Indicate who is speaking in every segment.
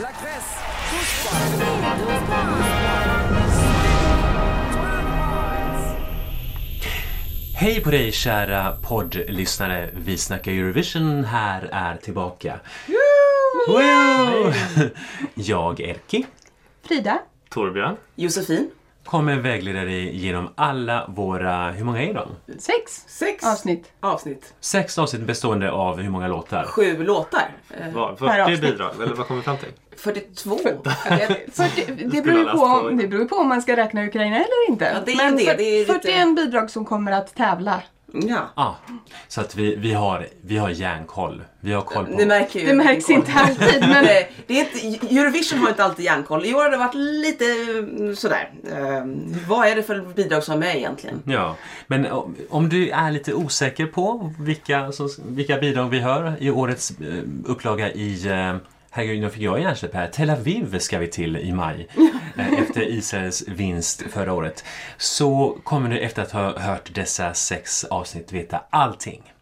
Speaker 1: La Grèce,
Speaker 2: Hej på dig kära poddlyssnare. Vi snackar Eurovision här är tillbaka. Wow! Jag, Erki,
Speaker 3: Frida.
Speaker 4: Torbjörn.
Speaker 5: Josefin.
Speaker 2: kommer vägleda dig genom alla våra, hur många är de?
Speaker 3: Sex
Speaker 5: Sex
Speaker 3: avsnitt.
Speaker 5: avsnitt.
Speaker 2: Sex avsnitt bestående av hur många låtar?
Speaker 5: Sju låtar. Eh,
Speaker 4: Vad,
Speaker 3: Per
Speaker 4: 40
Speaker 3: avsnitt.
Speaker 4: bidrag, eller vad kommer vi fram till?
Speaker 5: 42.
Speaker 3: För det, det, beror ju på,
Speaker 4: läst på
Speaker 3: om- det beror ju på om man ska räkna Ukraina eller inte.
Speaker 5: Ja, det är
Speaker 3: Men
Speaker 5: det.
Speaker 3: för-
Speaker 5: Det är lite-
Speaker 3: 41 bidrag som kommer att tävla.
Speaker 5: ja.
Speaker 2: Ja, så att vi, vi, har, vi har järnkoll. Vi har koll
Speaker 5: Ni
Speaker 2: på...
Speaker 5: märker ju.
Speaker 3: Det märks inte alltid men
Speaker 5: Nej, det är inte, Eurovision har inte alltid järnkoll. I år har det varit lite mm, sådär. Eh, vad är det för bidrag som är med egentligen?
Speaker 2: Ja, men om- om du är lite osäker på vilka, som, vilka bidrag vi hör i årets eh, upplaga i eh, Herregud, nu fick jag hjärnsläpp här. Tel Aviv ska vi till i maj eh, efter Israels vinst förra året. Så kommer du efter att ha hört dessa sex avsnitt veta allting.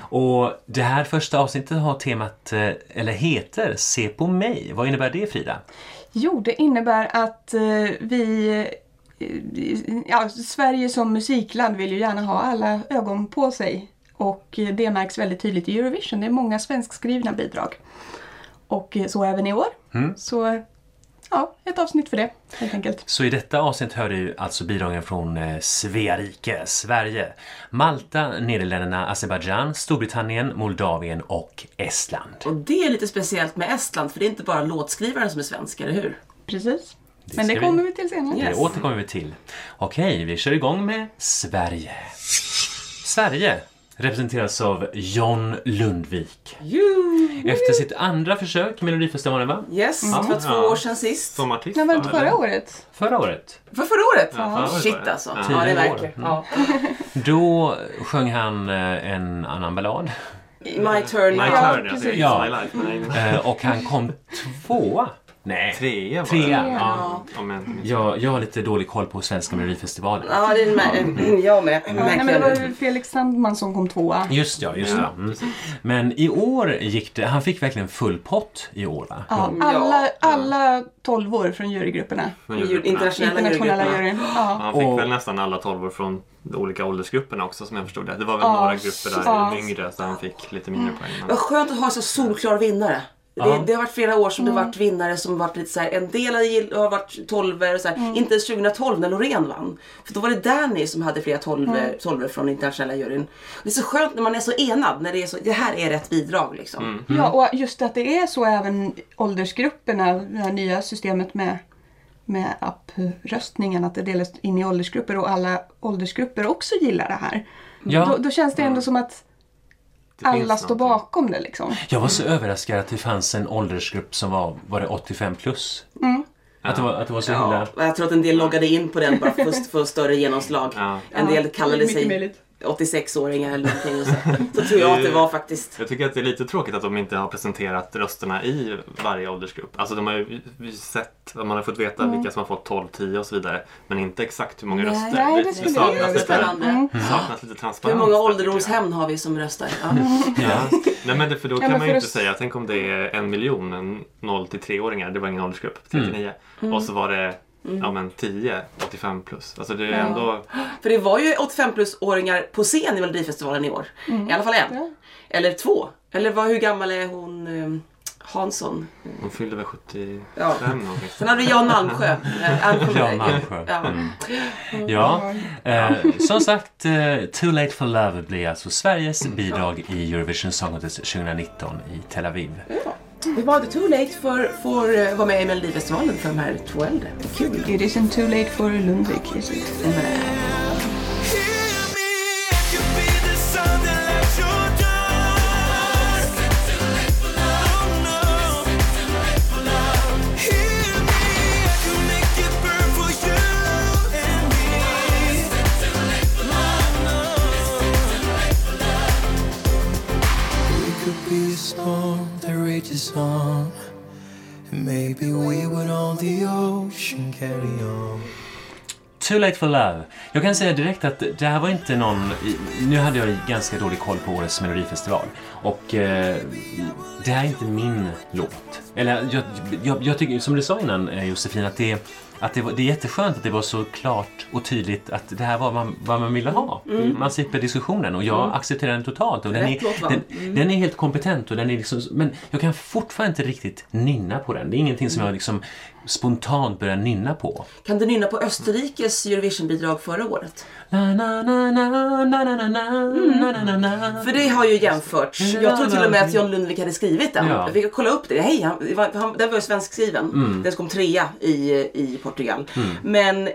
Speaker 2: Och det här första avsnittet har temat, eh, eller heter, Se på mig. Vad innebär det Frida?
Speaker 3: Jo, det innebär att eh, vi... eh, Ja, Sverige som musikland vill ju gärna ha alla ögon på sig. Och eh, det märks väldigt tydligt i Eurovision. Det är många svenskskrivna bidrag. Och eh, så även i år. Så eh, ja, ett avsnitt för det helt enkelt.
Speaker 2: Så i detta avsnitt hör du alltså bidragen från eh, Sverige, Sverige, Malta, Nederländerna, Azerbajdzjan, Storbritannien, Moldavien och Estland.
Speaker 5: Och det är lite speciellt med Estland för det är inte bara låtskrivaren som är svensk, eller hur?
Speaker 3: Precis. Men det
Speaker 2: ska vi-
Speaker 3: kommer vi till senare.
Speaker 5: Yes.
Speaker 2: Det återkommer vi till. Okej, vi kör igång med Sverige. Sverige representeras av John Lundvik. Efter sitt andra försök i Melodifestivalen, va?
Speaker 5: Yes,
Speaker 3: Mm.
Speaker 5: det var två
Speaker 4: Ja.
Speaker 5: år sedan sist.
Speaker 4: Som artist
Speaker 3: När var det
Speaker 4: då,
Speaker 3: inte
Speaker 4: eller?
Speaker 3: förra året?
Speaker 2: Förra året.
Speaker 5: För förra året?
Speaker 4: förra året var
Speaker 5: Shit
Speaker 4: det.
Speaker 5: alltså.
Speaker 4: Ja. Mm.
Speaker 5: Ja, det
Speaker 2: Tidigare år.
Speaker 5: märker. Ja.
Speaker 2: Då sjöng han eh, en annan ballad.
Speaker 5: My turn.
Speaker 4: My
Speaker 3: Ja,
Speaker 4: turn,
Speaker 3: precis.
Speaker 4: ja. It's
Speaker 2: Ja.
Speaker 4: my life. Men nej,
Speaker 2: Eh, Och han kom tvåa. Nej.
Speaker 4: trea var
Speaker 2: Trea,
Speaker 4: det.
Speaker 2: ja.
Speaker 4: Om jag inte minns
Speaker 2: Jag, jag har lite dålig koll på Svenska Melodifestivalen.
Speaker 5: Ja, det är med, jag med.
Speaker 3: Ja, nej, men det
Speaker 5: Märker
Speaker 3: var
Speaker 5: jag nu.
Speaker 3: ju Felix Sandman som kom tvåa.
Speaker 2: Just ja, just ja.
Speaker 4: Ja,
Speaker 2: Mm. Men i år gick det, han fick verkligen full pott i år va?
Speaker 3: Ja,
Speaker 5: Ja.
Speaker 3: alla, alla tolvor från jurygrupperna. Typ
Speaker 4: Men
Speaker 5: I
Speaker 4: jurygrupperna.
Speaker 5: Internationella,
Speaker 3: Internationella
Speaker 5: jurygruppen.
Speaker 3: juryn. Ja.
Speaker 4: Han fick
Speaker 2: Och-
Speaker 4: väl nästan alla tolvor från de olika åldersgrupperna också som jag förstod det. Det var väl
Speaker 3: Ja, Mm.
Speaker 4: några grupper där
Speaker 3: ja.
Speaker 4: yngre så han fick lite mindre poäng. Men...
Speaker 5: Vad skönt att ha så solklar vinnare. Det, det har varit flera år som det varit vinnare som varit lite så här, en del har gill- har varit tolver och så här.
Speaker 3: Mm.
Speaker 5: Inte ens 2012 när Loreen vann. För då var det Danny som hade flera tolver,
Speaker 3: Mm.
Speaker 5: tolver från internationella juryn. Det är så skönt när man är så enad, när det är så, det här är rätt bidrag liksom.
Speaker 3: ja, och just att det är så även åldersgrupperna, det här nya systemet med, med appröstningen, att det delas in i åldersgrupper och alla åldersgrupper också gillar det här.
Speaker 2: Ja.
Speaker 3: Då, då känns det ändå som att
Speaker 4: Det finns
Speaker 3: alla står
Speaker 4: någonting.
Speaker 3: bakom det liksom.
Speaker 2: Jag var så överraskad att det fanns en åldersgrupp som var, var det 85 plus? Att, det var, att det var så himla...
Speaker 5: Ja, och jag tror att en del loggade in på den bara för att få större genomslag.
Speaker 4: Ja.
Speaker 5: En del kallade
Speaker 3: mycket
Speaker 5: sig
Speaker 3: möjligt.
Speaker 5: 86-åringar eller någonting. Och så. så tror jag att det var faktiskt.
Speaker 4: Jag tycker att det är lite tråkigt att de inte har presenterat rösterna i varje åldersgrupp. Alltså de har ju vi sett, man har fått veta vilka som har fått 12, 10 och så vidare. Men inte exakt hur många röster.
Speaker 3: Mm. nej, det skulle
Speaker 4: saknas
Speaker 3: jag-
Speaker 4: lite-
Speaker 5: Spännande.
Speaker 3: Mm.
Speaker 4: det saknas lite transparens.
Speaker 5: Hur många
Speaker 4: där, tycker jag.
Speaker 5: ålderdomshem har vi som röstar? Ja.
Speaker 3: Mm.
Speaker 4: Ja. Nej men det, för då
Speaker 3: men
Speaker 4: kan man
Speaker 3: för
Speaker 4: ju
Speaker 3: att-
Speaker 4: inte säga, tänk om det är en miljon en 0 till 3-åringar, det var ingen åldersgrupp, 39.
Speaker 5: Mm.
Speaker 4: Och så var det ja, men 10, 85 plus. Alltså det är ändå,
Speaker 5: För det var ju 85 plus-åringar på scen i Melodifestivalen i år. I alla fall en.
Speaker 3: Ja.
Speaker 5: Eller två. Eller vad, hur gammal är hon eh, Hansson?
Speaker 4: de fyllde väl 75
Speaker 5: Ja.
Speaker 4: någonting.
Speaker 5: Sen hade vi Jan Malmsjö. Eh, Ann-
Speaker 2: Jan Malmsjö. Mm.
Speaker 5: Ja.
Speaker 2: Ja, eh, som sagt, eh, Too Late For Love blir alltså Sveriges bidrag i Eurovision Song Contest 2019 i Tel Aviv.
Speaker 5: Det var det too late för att vara med i Melodifestivalen för de här två äldre. Kul.
Speaker 3: It isn't too late for Lundvik, is it?
Speaker 5: Jag menar,
Speaker 6: Hear me, I could be the sun that lights your dark. Oh no, hear me, I could make it burn for you and me. We could be a storm that rages on, and maybe we would on the ocean carry on.
Speaker 2: Too Late for Love. Jag kan säga direkt att det här var inte någon... Nu hade jag ganska dålig koll på årets melodifestival. Och eh, det här är inte min låt. Eller jag, jag, jag tycker, som du sa innan eh, Josefin, att det, att det, var, det är jätteskönt att det var så klart och tydligt att det här var man, vad man ville ha. Man slipper diskussionen och jag accepterar den totalt. Och den,
Speaker 5: Mm. Rätt låt, va? Mm.
Speaker 2: är, den, den är helt kompetent och den är liksom, men jag kan fortfarande inte riktigt nynna på den. Det är ingenting
Speaker 5: Mm.
Speaker 2: som jag liksom spontant börjar nynna på.
Speaker 5: Kan du nynna på Österrikes Eurovision-bidrag förra året?
Speaker 2: Na, na, na, na, na, na, na, na, na, na, na.
Speaker 5: För det har ju jämförts. Jag tror till och med att John Lundvik hade skrivit den.
Speaker 2: Ja.
Speaker 5: Jag fick kolla upp det. Hej, han, det var- han, den var ju svenskskriven. Den kom trea i, i Portugal. Men eh,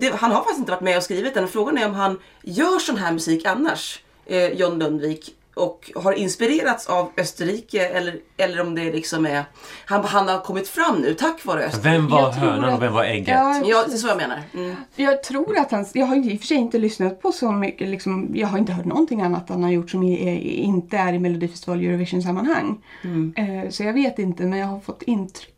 Speaker 5: det, han har faktiskt inte varit med och skrivit den. Frågan är om han gör sån här musik annars, eh, John Lundvik. Och har inspirerats av Österrike eller, eller om det liksom är... Han, han har kommit fram nu tack vare Österrike.
Speaker 2: Vem var
Speaker 3: Jag tror
Speaker 2: hönan
Speaker 3: att-
Speaker 2: och vem var ägget?
Speaker 3: Ja,
Speaker 5: Ja, det är så jag menar. Mm.
Speaker 3: Jag tror att han, jag har i och för sig inte lyssnat på så mycket, liksom, jag har inte hört någonting annat han har gjort som i- i- inte är i Melodifestival Eurovision-sammanhang. Eh, Så jag vet inte, men jag har fått intrycket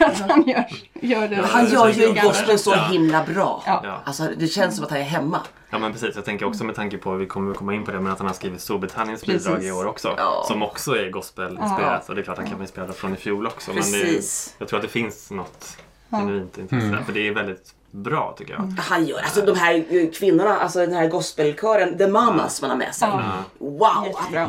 Speaker 3: att han gör, gör det. Alltså,
Speaker 5: Han
Speaker 4: det
Speaker 5: gör
Speaker 4: är
Speaker 5: ju
Speaker 4: säkert.
Speaker 5: Boston så
Speaker 4: Ja.
Speaker 5: himla bra.
Speaker 3: Ja.
Speaker 4: Ja.
Speaker 5: Alltså, det känns som att han är hemma.
Speaker 4: Ja men precis, jag tänker också med tanke på, vi kommer komma in på det, men att han har skrivit Storbritanniens
Speaker 3: Precis.
Speaker 4: bidrag i år också.
Speaker 5: Ja.
Speaker 4: Som också är gospelinspirerat och det är klart han kan vara inspirerad från i fjol också. Men det är,
Speaker 5: Precis.
Speaker 4: jag tror att det finns något genuint intresse där, för det är väldigt bra tycker jag.
Speaker 5: Han gör, alltså de här eh, kvinnorna, alltså den här gospelkören, The Mamas man har med sig. Wow!
Speaker 3: Jättebra.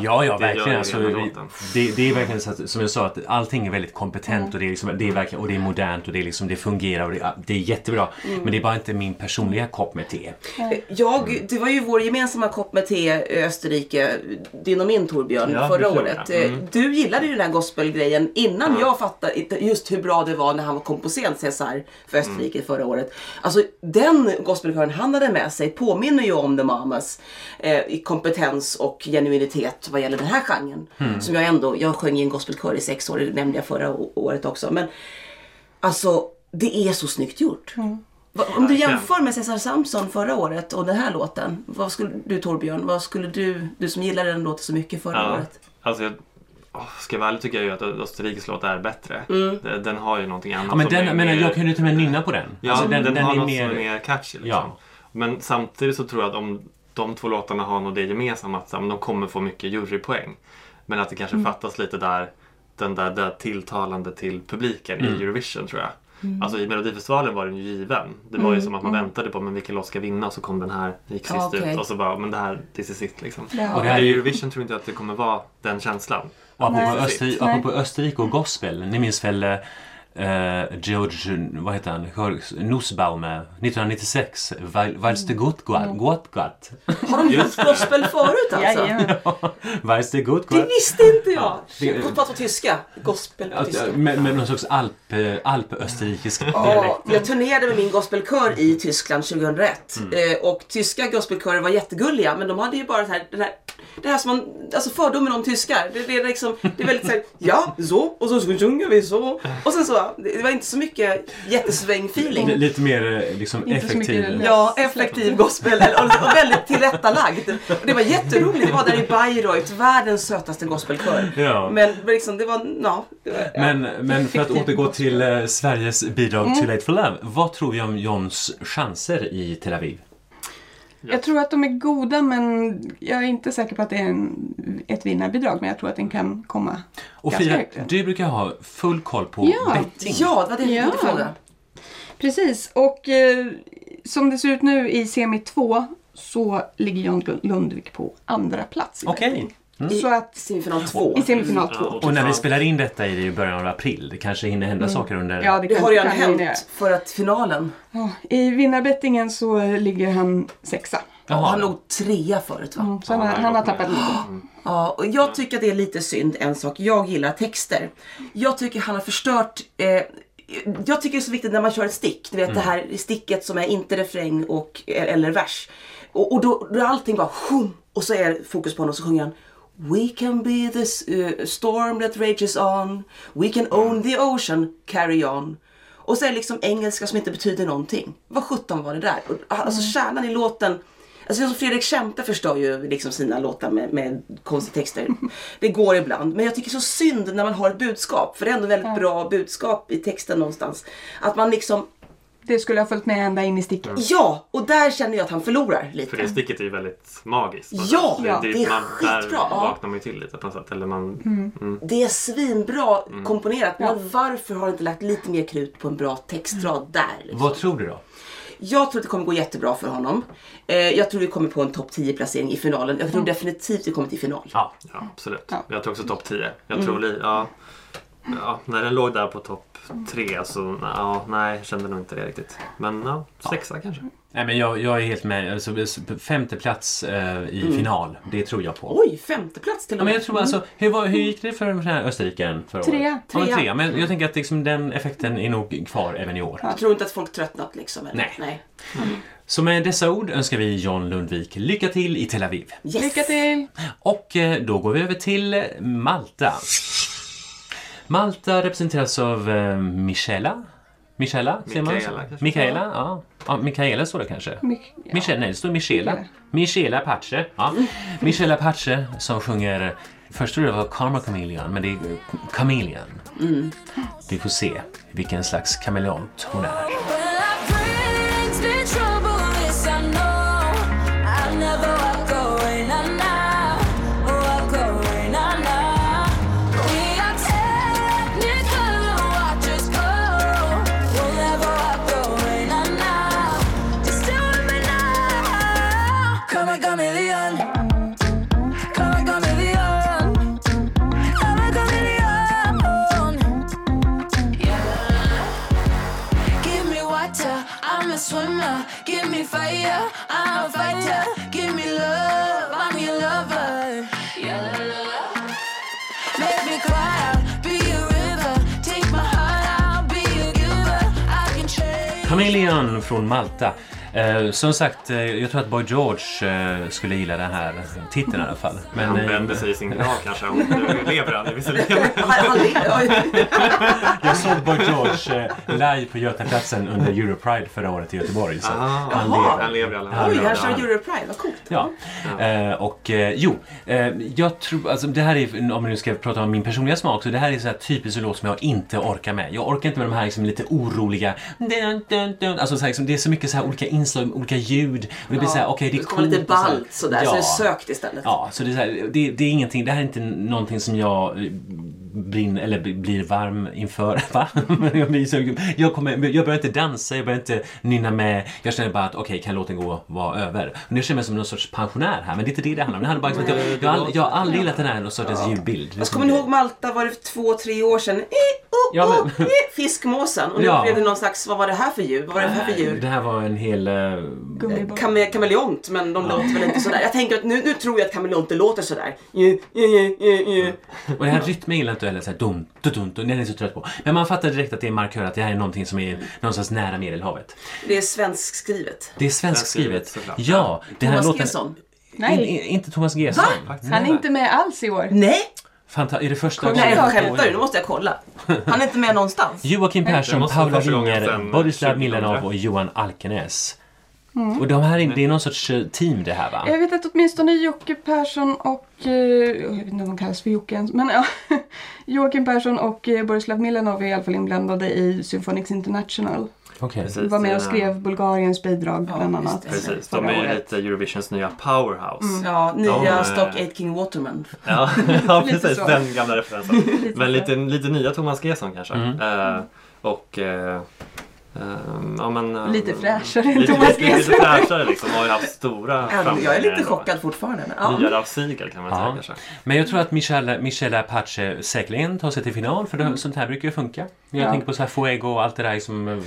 Speaker 2: Ja, ja,
Speaker 4: Det gör
Speaker 2: verkligen.
Speaker 4: det
Speaker 2: Alltså,
Speaker 4: genom
Speaker 2: vi-
Speaker 4: låten.
Speaker 2: det, det är verkligen så att, som jag sa, att allting är väldigt kompetent och, det är liksom, det är verkligen, och det är modernt och det, är liksom, det fungerar och det, det är jättebra. Men det är bara inte min personliga kopp med te.
Speaker 5: Eh, Jag, det var ju vår gemensamma kopp med te eh, Österrike, din och min Torbjörn,
Speaker 4: Ja,
Speaker 5: förra
Speaker 4: det tror
Speaker 5: året.
Speaker 4: jag. Mm.
Speaker 5: Eh, Du gillade ju den här gospelgrejen innan jag fattade inte just hur bra det var när han kom på scen, Cesar, för Österrike
Speaker 4: Mm.
Speaker 5: förra året. Alltså den gospelkören han hade med sig påminner ju om The Mamas eh, i kompetens och genuinitet vad gäller den här genren.
Speaker 4: Mm.
Speaker 5: Som jag ändå, jag sjöng i en gospelkör i sex år, det nämnde jag förra å- året också. Men Alltså, det är så snyggt gjort. Va- Om du
Speaker 4: Verkligen.
Speaker 5: jämför med Cesar Samson förra året och den här låten. Vad skulle du Torbjörn, vad skulle du, du som gillade den låten så mycket förra
Speaker 4: Ja.
Speaker 5: året.
Speaker 4: Alltså, jag, åh, ska jag vara ärlig tycker jag ju att Österrikes låt är bättre. Den, den har ju någonting annat
Speaker 2: Ja, men
Speaker 4: som är
Speaker 2: den, men
Speaker 4: mer-
Speaker 2: jag kunde till och med nynna på den.
Speaker 4: Ja,
Speaker 2: Alltså,
Speaker 4: den, har
Speaker 2: är
Speaker 4: något
Speaker 2: mer-
Speaker 4: som är mer catchy. Liksom.
Speaker 2: Ja.
Speaker 4: Men samtidigt så tror jag att om de två låtarna har nog det gemensamt att de kommer få mycket jurypoäng. Men att det kanske
Speaker 5: Mm.
Speaker 4: fattas lite där, den där, där tilltalande till publiken
Speaker 2: Mm.
Speaker 4: i Eurovision tror jag.
Speaker 5: Mm.
Speaker 4: Alltså i Melodifestivalen var den ju given. Det var ju som att man väntade på men vilken låt ska vinna och så kom den här, gick
Speaker 5: Ja,
Speaker 4: sist
Speaker 5: okej.
Speaker 4: ut och så bara men det här, this is it liksom.
Speaker 3: Ja.
Speaker 2: Och det
Speaker 4: Men
Speaker 2: här är
Speaker 4: i
Speaker 2: ju-
Speaker 4: Eurovision tror inte jag att det kommer vara den känslan.
Speaker 2: Och apropå,
Speaker 3: Nej.
Speaker 2: Österri-
Speaker 3: Nej.
Speaker 2: apropå Österrike och gospel, ni minns väl eh, George, vad heter han, Jorge Nussbaumer, 1996, Weil- Weilste Gott Gott Gott.
Speaker 5: Har de gjort gospel förut alltså?
Speaker 3: Jajamän.
Speaker 2: Weilste Gott
Speaker 5: Det
Speaker 2: Gott.
Speaker 5: visste inte jag!
Speaker 2: det-
Speaker 5: Gott prat på tyska. Gospel på
Speaker 2: Att,
Speaker 5: tyska.
Speaker 2: eh, Med, med någon sorts alp, eh, alpösterrikisk
Speaker 5: Ja,
Speaker 2: dialekt.
Speaker 5: jag turnerade med min gospelkör i Tyskland 2001 eh, och tyska gospelkörer var jättegulliga men de hade ju bara så här, den här, det här som man, alltså fördomen om tyskar. Det, det, är, liksom, det är väldigt såhär, ja så och så sjunger vi så. Och sen så, det var inte så mycket
Speaker 2: Li-
Speaker 5: jättesväng-feeling.
Speaker 2: Lite mer eh, liksom
Speaker 3: Inte så mycket
Speaker 2: effektiv.
Speaker 3: religiös.
Speaker 5: Ja, effektiv gospel eller- och, och väldigt tillrättalagd. Och det var jätteroligt, det var där i Bayreuth, världens sötaste gospelkör.
Speaker 2: Ja.
Speaker 5: Men liksom, det var, ja. Det var, ja.
Speaker 2: Men, men för att återgå till eh, Sveriges bidrag till Late for Love. Vad tror vi om Johns chanser i Tel Aviv?
Speaker 3: Jag tror att de är goda men jag är inte säker på att det är en, ett vinnarbidrag men jag tror att den kan komma
Speaker 2: Och
Speaker 3: ganska
Speaker 2: Fira,
Speaker 3: högt.
Speaker 2: du brukar ha full koll på
Speaker 3: Ja.
Speaker 2: betting.
Speaker 5: ja, det var det jag tänkte
Speaker 3: Ja.
Speaker 5: fråga.
Speaker 3: Precis, och eh, som det ser ut nu i semi 2 så ligger John Lund- Lundvik på andra plats. i
Speaker 2: Okej.
Speaker 3: betting.
Speaker 5: I-
Speaker 3: Så att
Speaker 5: Semifinal två.
Speaker 3: i semifinal
Speaker 4: Ja,
Speaker 3: 2.
Speaker 2: Och när vi spelar in detta är det ju början av april. Det kanske hinner hända saker under...
Speaker 3: Ja, det,
Speaker 5: Det
Speaker 3: kan-
Speaker 5: har redan
Speaker 3: kan ju det.
Speaker 5: hänt för att finalen
Speaker 3: Ja, I vinnarbettingen så eh, ligger han sexa.
Speaker 2: Jaha.
Speaker 5: Han låg trea förut va?
Speaker 3: Så han, har- han har tappat lite.
Speaker 5: Ja, och jag tycker att det är lite synd en sak. Jag gillar texter. Jag tycker han har förstört eh, jag tycker det är så viktigt när man kör ett stick, du vet det här sticket som är inte refräng och, eh, eller vers. Och, och då, då är allting bara shum, och så är fokus på honom och så sjunger han We can be this eh, storm that rages on, we can own the ocean, carry on. Och så är det liksom engelska som inte betyder någonting. Vad sjutton var det där? Och, Alltså kärnan i låten Alltså det är som Fredrik Kempe förstör ju liksom sina låtar med, med konstiga texter. Det går ibland. Men jag tycker så synd när man har ett budskap. För det är ändå väldigt bra budskap i texten någonstans. Att man liksom
Speaker 3: Det skulle ha följt med ända in i sticket.
Speaker 5: Ja, och där känner jag att han förlorar
Speaker 4: För
Speaker 5: lite.
Speaker 4: det sticket är ju väldigt magiskt.
Speaker 5: Ja, det är
Speaker 4: typ man,
Speaker 5: skitbra.
Speaker 4: Där
Speaker 5: Ja. Mm.
Speaker 4: vaknar man ju till lite på något sätt. Eller man,
Speaker 5: Det är svinbra komponerat. Men varför har du inte lagt lite mer krut på en bra textrad där? Liksom?
Speaker 2: Vad tror du då?
Speaker 5: Jag tror att det kommer gå jättebra för honom. Eh, jag tror vi kommer på en topp 10 placering i finalen. Jag tror
Speaker 2: Mm.
Speaker 5: definitivt vi kommer till final.
Speaker 2: Ja.
Speaker 4: Ja, absolut.
Speaker 3: Ja. Mm.
Speaker 4: Jag tror också topp 10. Jag tror li, ja, ja, när den låg där på topp 3 så ja, nej, jag kände nog inte det riktigt. Men ja, sexa kanske.
Speaker 2: Nej, men jag, jag är helt med. Alltså, femte plats eh, i final, det tror jag på.
Speaker 5: Oj, femte plats till
Speaker 2: Ja,
Speaker 5: och
Speaker 2: men
Speaker 5: med.
Speaker 2: jag tror alltså, hur, var, hur gick det för den här österrikaren förra
Speaker 3: Trea.
Speaker 2: året? Ja, men
Speaker 5: Trea.
Speaker 2: trea. Men jag tänker att liksom, den effekten är nog kvar även i år.
Speaker 5: Jag tror inte att folk tröttnat liksom. Eller?
Speaker 2: Nej. Så med dessa ord önskar vi John Lundvik lycka till i Tel Aviv.
Speaker 5: Yes.
Speaker 3: Lycka till!
Speaker 2: Och eh, då går vi över till Malta. Malta representeras av eh, Michela. Michela, säger man?
Speaker 4: Mikaela kanske.
Speaker 2: Mikaela, ja. ja. Mikaela står det kanske.
Speaker 3: Mik- ja.
Speaker 2: Michela, nej, det står Michela. Michela Pace. Ja. Michela Pace som sjunger... Först trodde jag det var Karma Chameleon, men det är eh, Chameleon. Vi får se vilken slags kameleont hon är.
Speaker 6: Well, I pray it's been trouble, this I know. I never walk away, nah, nah. Walk away, nah, nah. We are technical watchers go. We'll never walk away, nah, nah. Just do it me now. Come and chameleon. Come and chameleon. Come and chameleon. Yeah. Give me water, I'm a swimmer. Give me fire, I'm a fighter. Give me love, I'm your lover. Yeah. Make me cry out, be a river. Take my heart out, be a giver. I can change.
Speaker 2: Chameleon från Malta. Eh, som sagt, eh, jag tror att Boy George eh, skulle gilla den här titeln i alla fall. Men,
Speaker 4: Han
Speaker 2: eh,
Speaker 4: vänder sig i sin grav kanske. Om du lever han visserligen.
Speaker 5: Han, han ler. Oj.
Speaker 2: jag såg Boy George eh, live på Götaplatsen under Europride förra året i Göteborg. Så
Speaker 4: Ah,
Speaker 2: han
Speaker 4: Jaha.
Speaker 2: lever.
Speaker 4: han lever i alla
Speaker 2: Han
Speaker 5: Oj,
Speaker 4: fall.
Speaker 5: han kör Europride. Vad coolt.
Speaker 2: Ja, eh, och eh, jo, eh, jag tror, alltså det här är, om vi nu ska prata om min personliga smak, så det här är så här typiskt en låt som jag inte orkar med. Jag orkar inte med de här liksom lite oroliga, dun, dun, dun. alltså så här, liksom, det är så mycket så här olika inslag, olika ljud och det blir så här, okej det är
Speaker 5: Det kommer lite
Speaker 2: coolt och så här.
Speaker 5: ballt sådär. Så det är sökt istället.
Speaker 2: Ja, så det är, så här, det, det är ingenting, det här är inte någonting som jag eh, brinner, eller bli- blir varm inför. Varm? jag, blir så, jag, kommer, jag börjar inte dansa, jag börjar inte nynna med. Jag känner bara att okej, kan låten gå vara över? Och jag känner mig som någon sorts pensionär här, men det är inte det det handlar om. Det handlar bara om att jag, jag, har ald- jag har aldrig gillat den här någon sortens ljudbild.
Speaker 5: Fast kommer ni ihåg Malta var det för två, tre år sedan? Eh, oh,
Speaker 2: Ja, men-
Speaker 5: oh, eh, fiskmåsen. Och nu
Speaker 2: Ja.
Speaker 5: blev det någon slags, vad var det här för djur? Vad var det här för djur?
Speaker 2: Det här var en hel... eh,
Speaker 3: Gummiboll.
Speaker 5: Kame- kameleont, men de låter väl inte sådär. Jag tänker att nu, nu tror jag att kameleonter låter sådär. Eh, eh, eh, eh, eh.
Speaker 2: Och den här rytmen gillar inte jag heller. Så här, dum, dum, dum, dum, den är jag så trött på. Men man fattar direkt att det är en markör, att det här är någonting som är någonstans nära Medelhavet.
Speaker 5: Det är svenskskrivet.
Speaker 2: Det är svenskskrivet.
Speaker 4: Svenskskrivet, såklart.
Speaker 2: Ja, det här
Speaker 5: Thomas
Speaker 2: låten...
Speaker 5: Gesson.
Speaker 2: In,
Speaker 3: Nej,
Speaker 2: in, inte Thomas Gesson.
Speaker 3: han är inte med alls i år.
Speaker 5: Nej!
Speaker 2: Fanta- är det första
Speaker 3: Kolla.
Speaker 5: Nej,
Speaker 2: gången?
Speaker 3: jag
Speaker 5: skämtar du? Nu måste jag kolla. Han är inte med någonstans.
Speaker 2: Joakim
Speaker 4: Det
Speaker 2: Persson,
Speaker 4: måste
Speaker 2: Paula
Speaker 4: vara första gången
Speaker 2: Ringer,
Speaker 4: sedan
Speaker 2: Borislav
Speaker 4: 2000.
Speaker 2: Milanov och Johan Alkenäs.
Speaker 3: Mm.
Speaker 2: Och de här, är- det är någon sorts eh, team det här va?
Speaker 3: Jag vet att åtminstone Jocke Persson och, eh, jag vet inte om han kallas för Jocke ens, men ja. Joakim Persson och eh, Borislav Milanov är i alla fall inblandade i Symphonics International.
Speaker 2: Okej.
Speaker 4: Precis,
Speaker 3: var med och
Speaker 4: eh,
Speaker 3: skrev Bulgariens bidrag bland
Speaker 5: just
Speaker 3: annat.
Speaker 5: det.
Speaker 4: Precis, de
Speaker 3: förra
Speaker 4: är ju
Speaker 3: året. Mm.
Speaker 4: lite Eurovisions nya powerhouse.
Speaker 5: Ja, nya
Speaker 4: eh,
Speaker 5: Stock 8 King Waterman.
Speaker 4: Ja, ja
Speaker 3: Lite
Speaker 4: precis.
Speaker 3: så.
Speaker 4: Den gamla referensen.
Speaker 3: så.
Speaker 4: Men lite, lite nya Thomas Gesson kanske. Eh, och... eh, ehm, ja, men, eh,
Speaker 3: Lite fräschare än
Speaker 4: lite-
Speaker 3: Thomas
Speaker 4: lite- Lite
Speaker 3: Gesson.
Speaker 4: fräschare liksom. Har ju haft stora
Speaker 5: Även Jag är lite
Speaker 4: ändå.
Speaker 5: chockad fortfarande. Men, ja.
Speaker 4: Nya Ralf Siegel kan man säga
Speaker 2: Ja.
Speaker 4: kanske.
Speaker 2: Men jag tror att Michelle, Michelle Apache säkerligen tar sig till final för det, sånt här brukar ju funka. Jag
Speaker 3: Mm. Ja.
Speaker 2: tänker på så här Fuego och allt det där som... eh,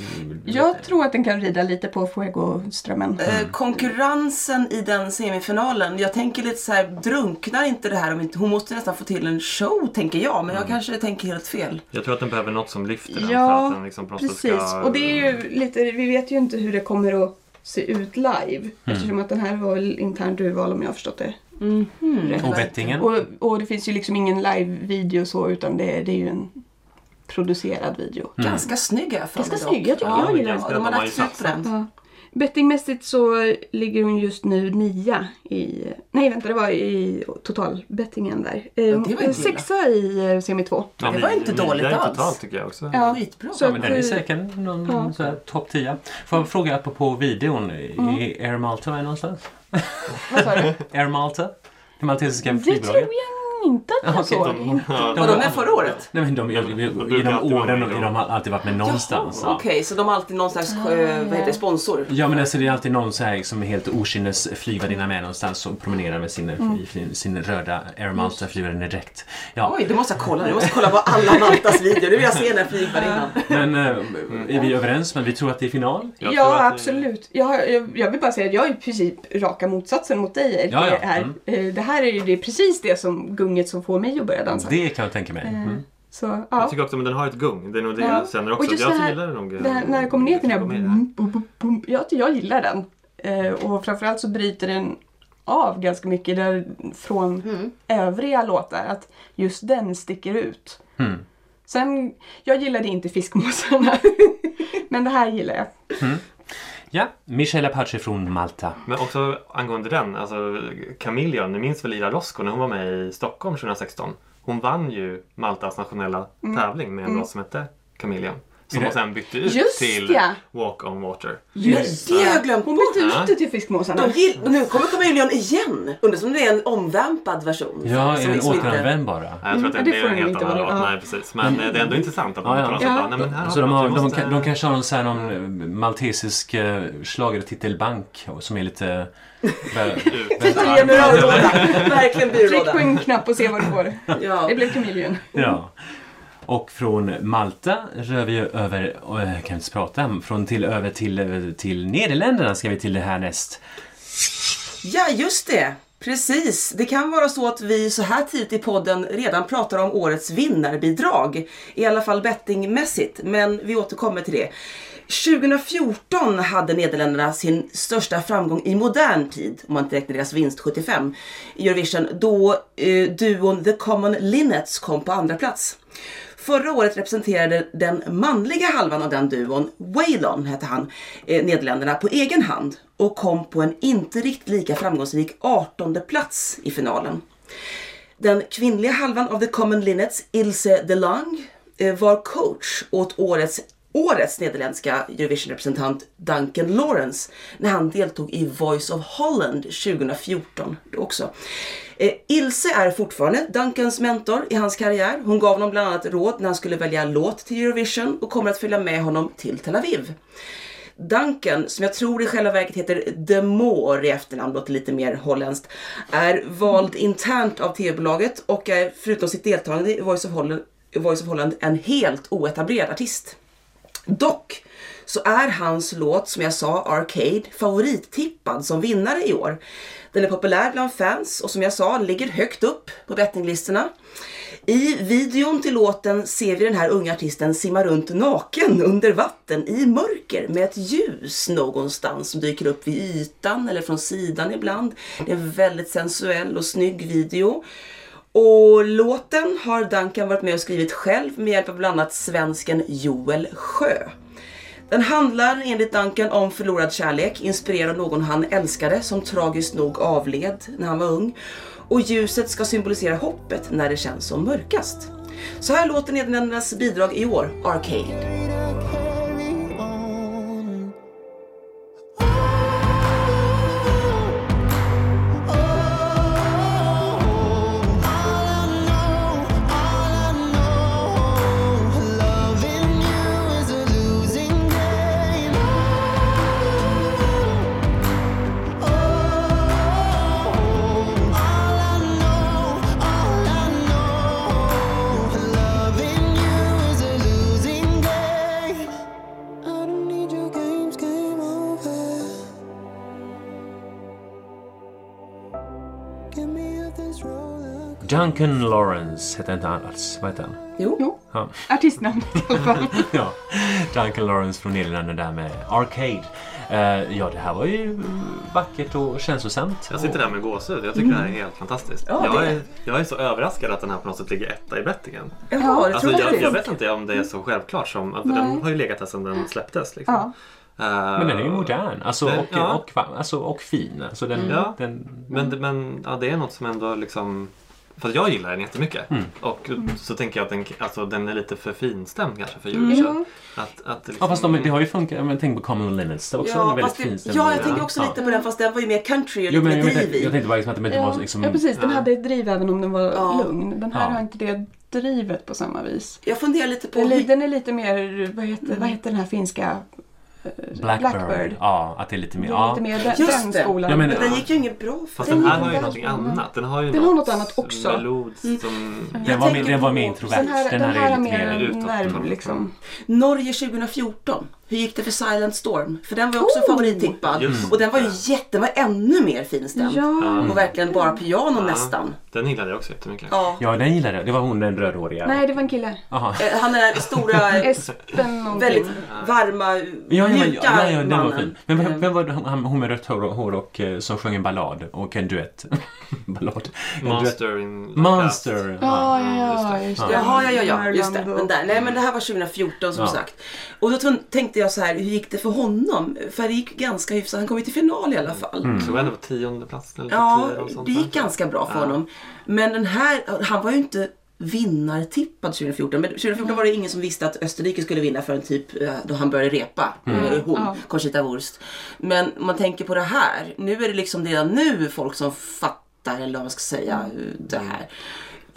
Speaker 3: Jag tror att den kan rida lite på Fuego-strömmen.
Speaker 5: Eh, Konkurrensen i den semifinalen, jag tänker lite så här, drunknar inte det här om inte, hon måste nästan få till en show tänker jag, men jag kanske tänker helt fel.
Speaker 4: Jag tror att den behöver något som lyfter den för att
Speaker 3: Ja,
Speaker 4: den liksom på något sätt
Speaker 3: precis.
Speaker 4: ska...
Speaker 3: Och det är ju lite, vi vet ju inte hur det kommer att se ut live.
Speaker 4: Mm.
Speaker 3: Eftersom att den här var väl internt urval om jag har förstått det rätt.
Speaker 2: Och bettingen.
Speaker 3: Och, och det finns ju liksom ingen live-video så utan det, det är ju en producerad video.
Speaker 4: Mm.
Speaker 5: Ganska snygg är jag för mig
Speaker 3: Ganska
Speaker 5: dock.
Speaker 3: snygg, jag tycker
Speaker 5: ja.
Speaker 3: jag gillar
Speaker 4: ganska-
Speaker 5: Ja, de har
Speaker 4: de har
Speaker 5: lagt
Speaker 4: ju
Speaker 5: tryck på
Speaker 4: satsat.
Speaker 5: den.
Speaker 3: Ja. Bettingmässigt så ligger hon just nu nia i... Nej vänta, det var i totalbettingen där. Eh,
Speaker 5: det var inte
Speaker 3: Sexa i eh, semi 2.
Speaker 4: Ja,
Speaker 5: Det var inte
Speaker 4: ni- ni-
Speaker 5: dåligt
Speaker 4: det är
Speaker 5: alls.
Speaker 4: Totalt tycker jag också.
Speaker 3: Ja.
Speaker 5: Skitbra.
Speaker 3: Så-
Speaker 2: Men den är säkert någon
Speaker 3: Ja.
Speaker 2: så här, topp 10. Får jag fråga apropå videon,
Speaker 3: Mm.
Speaker 2: är Air Malta med någonstans?
Speaker 3: eh, Vad sa du?
Speaker 2: Air Malta? Det maltesiska
Speaker 3: Det tror
Speaker 2: flygbolaget?
Speaker 3: jag inte att jag
Speaker 2: okej,
Speaker 3: såg.
Speaker 4: Ja.
Speaker 5: Var de med förra året?
Speaker 2: Nej men de, jag, jag,
Speaker 4: Alltså, brukar
Speaker 2: genom
Speaker 4: alltid vara
Speaker 2: åren
Speaker 4: med
Speaker 2: har de alltid varit med någonstans.
Speaker 5: Jaha,
Speaker 2: ja.
Speaker 5: Okej, så de har alltid någon slags eh, vad heter det, sponsor.
Speaker 2: Ja men alltså det är alltid någon så här som är helt okynnes flygvärdinna med någonstans och promenerar med sin,
Speaker 5: Mm.
Speaker 2: i- sin röda Air Malta flygvärdinnedräkt. Ja,
Speaker 5: Oj, det måste jag kolla. Jag måste kolla på alla Maltas videor. Nu vill jag se den här flygvärdinnan.
Speaker 2: men eh,
Speaker 4: Mm.
Speaker 2: är vi överens? Men vi tror att det är final?
Speaker 4: Jag tror att
Speaker 3: ja,
Speaker 4: det-
Speaker 3: absolut. Jag, har- jag, jag vill bara säga att jag är i princip raka motsatsen mot dig Erik, i
Speaker 2: Ja, ja.
Speaker 3: det här.
Speaker 2: Mm.
Speaker 3: Eh, Det här är ju det är precis det som gunget som får mig att börja dansa.
Speaker 2: Det kan jag tänka mig. Mm.
Speaker 3: Så,
Speaker 4: Jag
Speaker 3: ja.
Speaker 4: tycker också att den har ett gung. Det är nog det
Speaker 3: Ja.
Speaker 4: jag känner
Speaker 3: Och
Speaker 4: också.
Speaker 3: just
Speaker 4: Jag
Speaker 3: det här-
Speaker 4: gillar den nog. eh,
Speaker 3: Det här, när jag kommer ner till den här...
Speaker 4: Jag tycker
Speaker 3: Boom, boom, boom, boom, jag, jag gillar den. Eh, och framförallt så bryter den av ganska mycket där, från övriga låtar. Att just den sticker ut.
Speaker 2: Mm.
Speaker 3: Sen, jag gillade inte fiskmåsarna. Men det här gillar jag.
Speaker 2: Ja, Michelle Apache från Malta.
Speaker 4: Men också angående den, alltså Chameleon, ni minns väl Ira Rosco när hon var med i Stockholm 2016? Hon vann ju Maltas nationella
Speaker 3: Mm.
Speaker 4: tävling med en låt som hette Chameleon. Som
Speaker 2: Är
Speaker 4: hon
Speaker 2: det-
Speaker 4: sen bytte ut
Speaker 3: Just
Speaker 4: till
Speaker 3: ja.
Speaker 4: Walk on Water.
Speaker 5: Just det, har jag glömt
Speaker 3: Hon
Speaker 5: bort.
Speaker 3: bytte
Speaker 4: Ja.
Speaker 3: ut det till fiskmåsarna.
Speaker 5: De gill- nu kommer Chameleon igen. Undrar om det är en omvampad version.
Speaker 2: Ja, är den
Speaker 5: liksom inte-
Speaker 2: återanvänd bara?
Speaker 4: Nej, jag tror att det,
Speaker 3: Mm, det
Speaker 4: det
Speaker 3: får
Speaker 4: är en
Speaker 3: den
Speaker 4: helt
Speaker 3: inte
Speaker 4: annan
Speaker 3: vara,
Speaker 4: låt.
Speaker 3: ja.
Speaker 4: Nej, precis. Men eh, det är ändå intressant att
Speaker 2: Mm. Ja,
Speaker 4: man
Speaker 2: ja.
Speaker 4: på något sätt
Speaker 3: Ja.
Speaker 4: bara, nej men här har
Speaker 2: Så de,
Speaker 4: vi
Speaker 2: har,
Speaker 4: något, vi
Speaker 2: de,
Speaker 4: måste-
Speaker 2: kan, de kanske har någon, så här, någon eh, maltesisk eh, schlagertitelbank och- som är lite... Vä-
Speaker 5: Ja,
Speaker 2: vä-
Speaker 5: Byrålåda. Verkligen
Speaker 3: Tryck på
Speaker 5: byrålåda.
Speaker 3: en knapp och se vad du får.
Speaker 5: Ja.
Speaker 3: Det blev kamiljen.
Speaker 2: ja.
Speaker 4: Mm.
Speaker 2: Och från Malta rör vi ju över, åh, jag kan inte prata, från till över till, eh, till Nederländerna ska vi till det här näst.
Speaker 5: ja, just det. Precis. Det kan vara så att vi så här tidigt i podden redan pratar om årets vinnarbidrag. I alla fall bettingmässigt, men vi återkommer till det. 2014 hade Nederländerna sin största framgång i modern tid, om man inte räknar deras vinst 75 i Eurovision, då eh, duon The Common Linnets kom på andra plats. Förra året representerade den manliga halvan av den duon, Waylon hette han, eh, Nederländerna på egen hand och kom på en inte riktigt lika framgångsrik 18 plats i finalen. Den kvinnliga halvan av The Common Linnets, Ilse de Lange, eh, var coach åt årets, årets nederländska Eurovision-representant Duncan Lawrence när han deltog i Voice of Holland 2014 också. Eh, Ilse är fortfarande Duncans mentor i hans karriär. Hon gav honom bland annat råd när han skulle välja låt till Eurovision och kommer att följa med honom till Tel Aviv. Duncan, som jag tror i själva verket heter De Moor i efternamn, låter lite mer holländskt, är vald internt av TV-bolaget och är förutom sitt deltagande i Voice of Holland, Voice of Holland en helt oetablerad artist. Dock så är hans låt, som jag sa, Arcade, favorittippad som vinnare i år. Den är populär bland fans och som jag sa ligger högt upp på bettinglistorna. I videon till låten ser vi den här unga artisten simma runt naken under vatten i mörker med ett ljus någonstans som dyker upp vid ytan eller från sidan ibland. Det är en väldigt sensuell och snygg video. Och låten har Duncan varit med och skrivit själv med hjälp av bland annat svensken Joel Sjö. Den handlar enligt Duncan om förlorad kärlek, inspirerad av någon han älskade som tragiskt nog avled när han var ung. Och ljuset ska symbolisera hoppet när det känns som mörkast. Så här låter Nederländernas bidrag i år, Arcade.
Speaker 2: Duncan Lawrence heter inte han alls, vad heter han?
Speaker 5: Jo,
Speaker 3: Jo,
Speaker 2: Ja.
Speaker 3: artistnamnet i alla fall.
Speaker 2: ja, Duncan Lawrence från Nederländerna där med Arcade. Eh, ja, det här var ju vackert och känslosamt.
Speaker 4: Jag sitter där med gåshud. Jag tycker det här är helt fantastiskt.
Speaker 5: Ja,
Speaker 4: jag,
Speaker 5: det är-
Speaker 4: är, jag är så överraskad att den här på något sätt ligger etta i bettingen.
Speaker 5: jaha, det
Speaker 4: Alltså,
Speaker 5: tror
Speaker 4: jag, jag
Speaker 5: jag.
Speaker 4: vet inte om det är så självklart som... Alltså,
Speaker 3: Nej.
Speaker 4: den har ju legat där sedan den släpptes. Liksom.
Speaker 3: Ja.
Speaker 2: Men den är ju modern alltså,
Speaker 4: Den-
Speaker 2: och,
Speaker 4: ja.
Speaker 2: och, va- alltså, och fin. Alltså, den,
Speaker 4: Ja.
Speaker 2: den,
Speaker 4: Men, men ja, det är något som ändå liksom... För att jag gillar den jättemycket.
Speaker 2: Mm.
Speaker 4: Och så tänker jag att den, alltså, den är lite för finstämd kanske för Eurovision.
Speaker 3: Mm.
Speaker 4: Att, att liksom,
Speaker 2: ja, fast de, det har ju funkat. Men tänk på Common Limits. Det var också en
Speaker 5: Ja,
Speaker 2: väldigt
Speaker 5: fast det,
Speaker 2: fin stämning.
Speaker 5: ja, jag tänker också
Speaker 2: Ja.
Speaker 5: lite på den fast den var ju mer country och
Speaker 2: Jo,
Speaker 5: lite
Speaker 2: men,
Speaker 5: mer
Speaker 2: jag,
Speaker 5: driv
Speaker 2: tänkte,
Speaker 5: i.
Speaker 2: jag tänkte bara liksom att de inte var liksom...
Speaker 3: ja precis, den hade ett driv även om den var
Speaker 5: Ja.
Speaker 3: lugn. Den här
Speaker 2: Ja.
Speaker 3: har inte det drivet på samma vis.
Speaker 5: Jag funderar lite på...
Speaker 3: Den, li-
Speaker 5: hur-
Speaker 3: den är lite mer, vad heter, vad heter den här finska? eh,
Speaker 2: Blackbird.
Speaker 3: Blackbird.
Speaker 2: Ja, att det är lite mer...
Speaker 3: Det är
Speaker 2: Ja.
Speaker 3: lite mer den,
Speaker 5: Just
Speaker 3: den
Speaker 5: det.
Speaker 3: skolan.
Speaker 2: Jag menar-
Speaker 5: Men den gick ju inget bra för
Speaker 4: Fast
Speaker 5: den.
Speaker 4: den här
Speaker 3: Den
Speaker 4: har ju
Speaker 3: gillar
Speaker 4: någonting
Speaker 3: jag.
Speaker 4: annat. Den har ju
Speaker 3: Den har något annat också. Mm.
Speaker 4: melod som...
Speaker 2: Den var, mer-
Speaker 5: tänker
Speaker 2: den var
Speaker 5: på-
Speaker 2: mer
Speaker 3: den
Speaker 2: introvert.
Speaker 3: här, den här,
Speaker 2: är
Speaker 3: har
Speaker 2: lite
Speaker 3: mer
Speaker 2: mer...
Speaker 4: utåt.
Speaker 3: nerv
Speaker 4: Mm.
Speaker 3: liksom.
Speaker 5: Norge 2014. Hur gick det för Silent Storm? För den var ju också
Speaker 3: Oh!
Speaker 5: favorittippad.
Speaker 4: Just
Speaker 5: Och den var ju jätte, var ännu mer finstämd.
Speaker 3: Ja.
Speaker 5: Och verkligen bara piano nästan.
Speaker 4: Den gillade jag också jättemycket.
Speaker 5: Ja.
Speaker 2: Ja, den gillade jag. Det var hon den rödhåriga.
Speaker 3: Nej, det var en kille.
Speaker 2: Aha.
Speaker 5: Eh, Han är den här stora, eh,
Speaker 3: Espen någonting.
Speaker 5: väldigt varma,
Speaker 2: Ja, ja, ja,
Speaker 5: mjuka
Speaker 2: ja, ja, den var
Speaker 5: mannen.
Speaker 2: fin. Men vem, vem var det- han- hon med rött hår och, hår och eh, som sjöng en ballad och en duett? ballad. En duett.
Speaker 4: Monster in...
Speaker 2: Monster.
Speaker 3: Ja,
Speaker 2: Ja.
Speaker 3: ja, ja, just det.
Speaker 5: Jaha, ja, ja, ja. Just det.
Speaker 3: Marlon
Speaker 5: Den där. Nej, men det här var 2014 som
Speaker 2: Ja.
Speaker 5: sagt. Och då tun- tänkte jag så här, hur gick det för honom? För det gick ganska hyfsat. Han kom ju till final i alla fall.
Speaker 2: Mm.
Speaker 4: Jag tror ändå på tionde plats eller
Speaker 5: Ja,
Speaker 4: tio eller sånt
Speaker 5: det
Speaker 4: där.
Speaker 5: gick ganska bra för honom. Men den här, han var ju inte vinnartippad 2014. Men 2014 var det ingen som visste att Österrike skulle vinna förrän typ eh, då han började repa.
Speaker 2: Mm.
Speaker 5: Eller hon,
Speaker 3: Ja.
Speaker 5: Conchita Wurst. Men om man tänker på det här. Nu är det liksom redan nu folk som fattar, eller vad man ska säga,
Speaker 3: Mm.
Speaker 5: det här.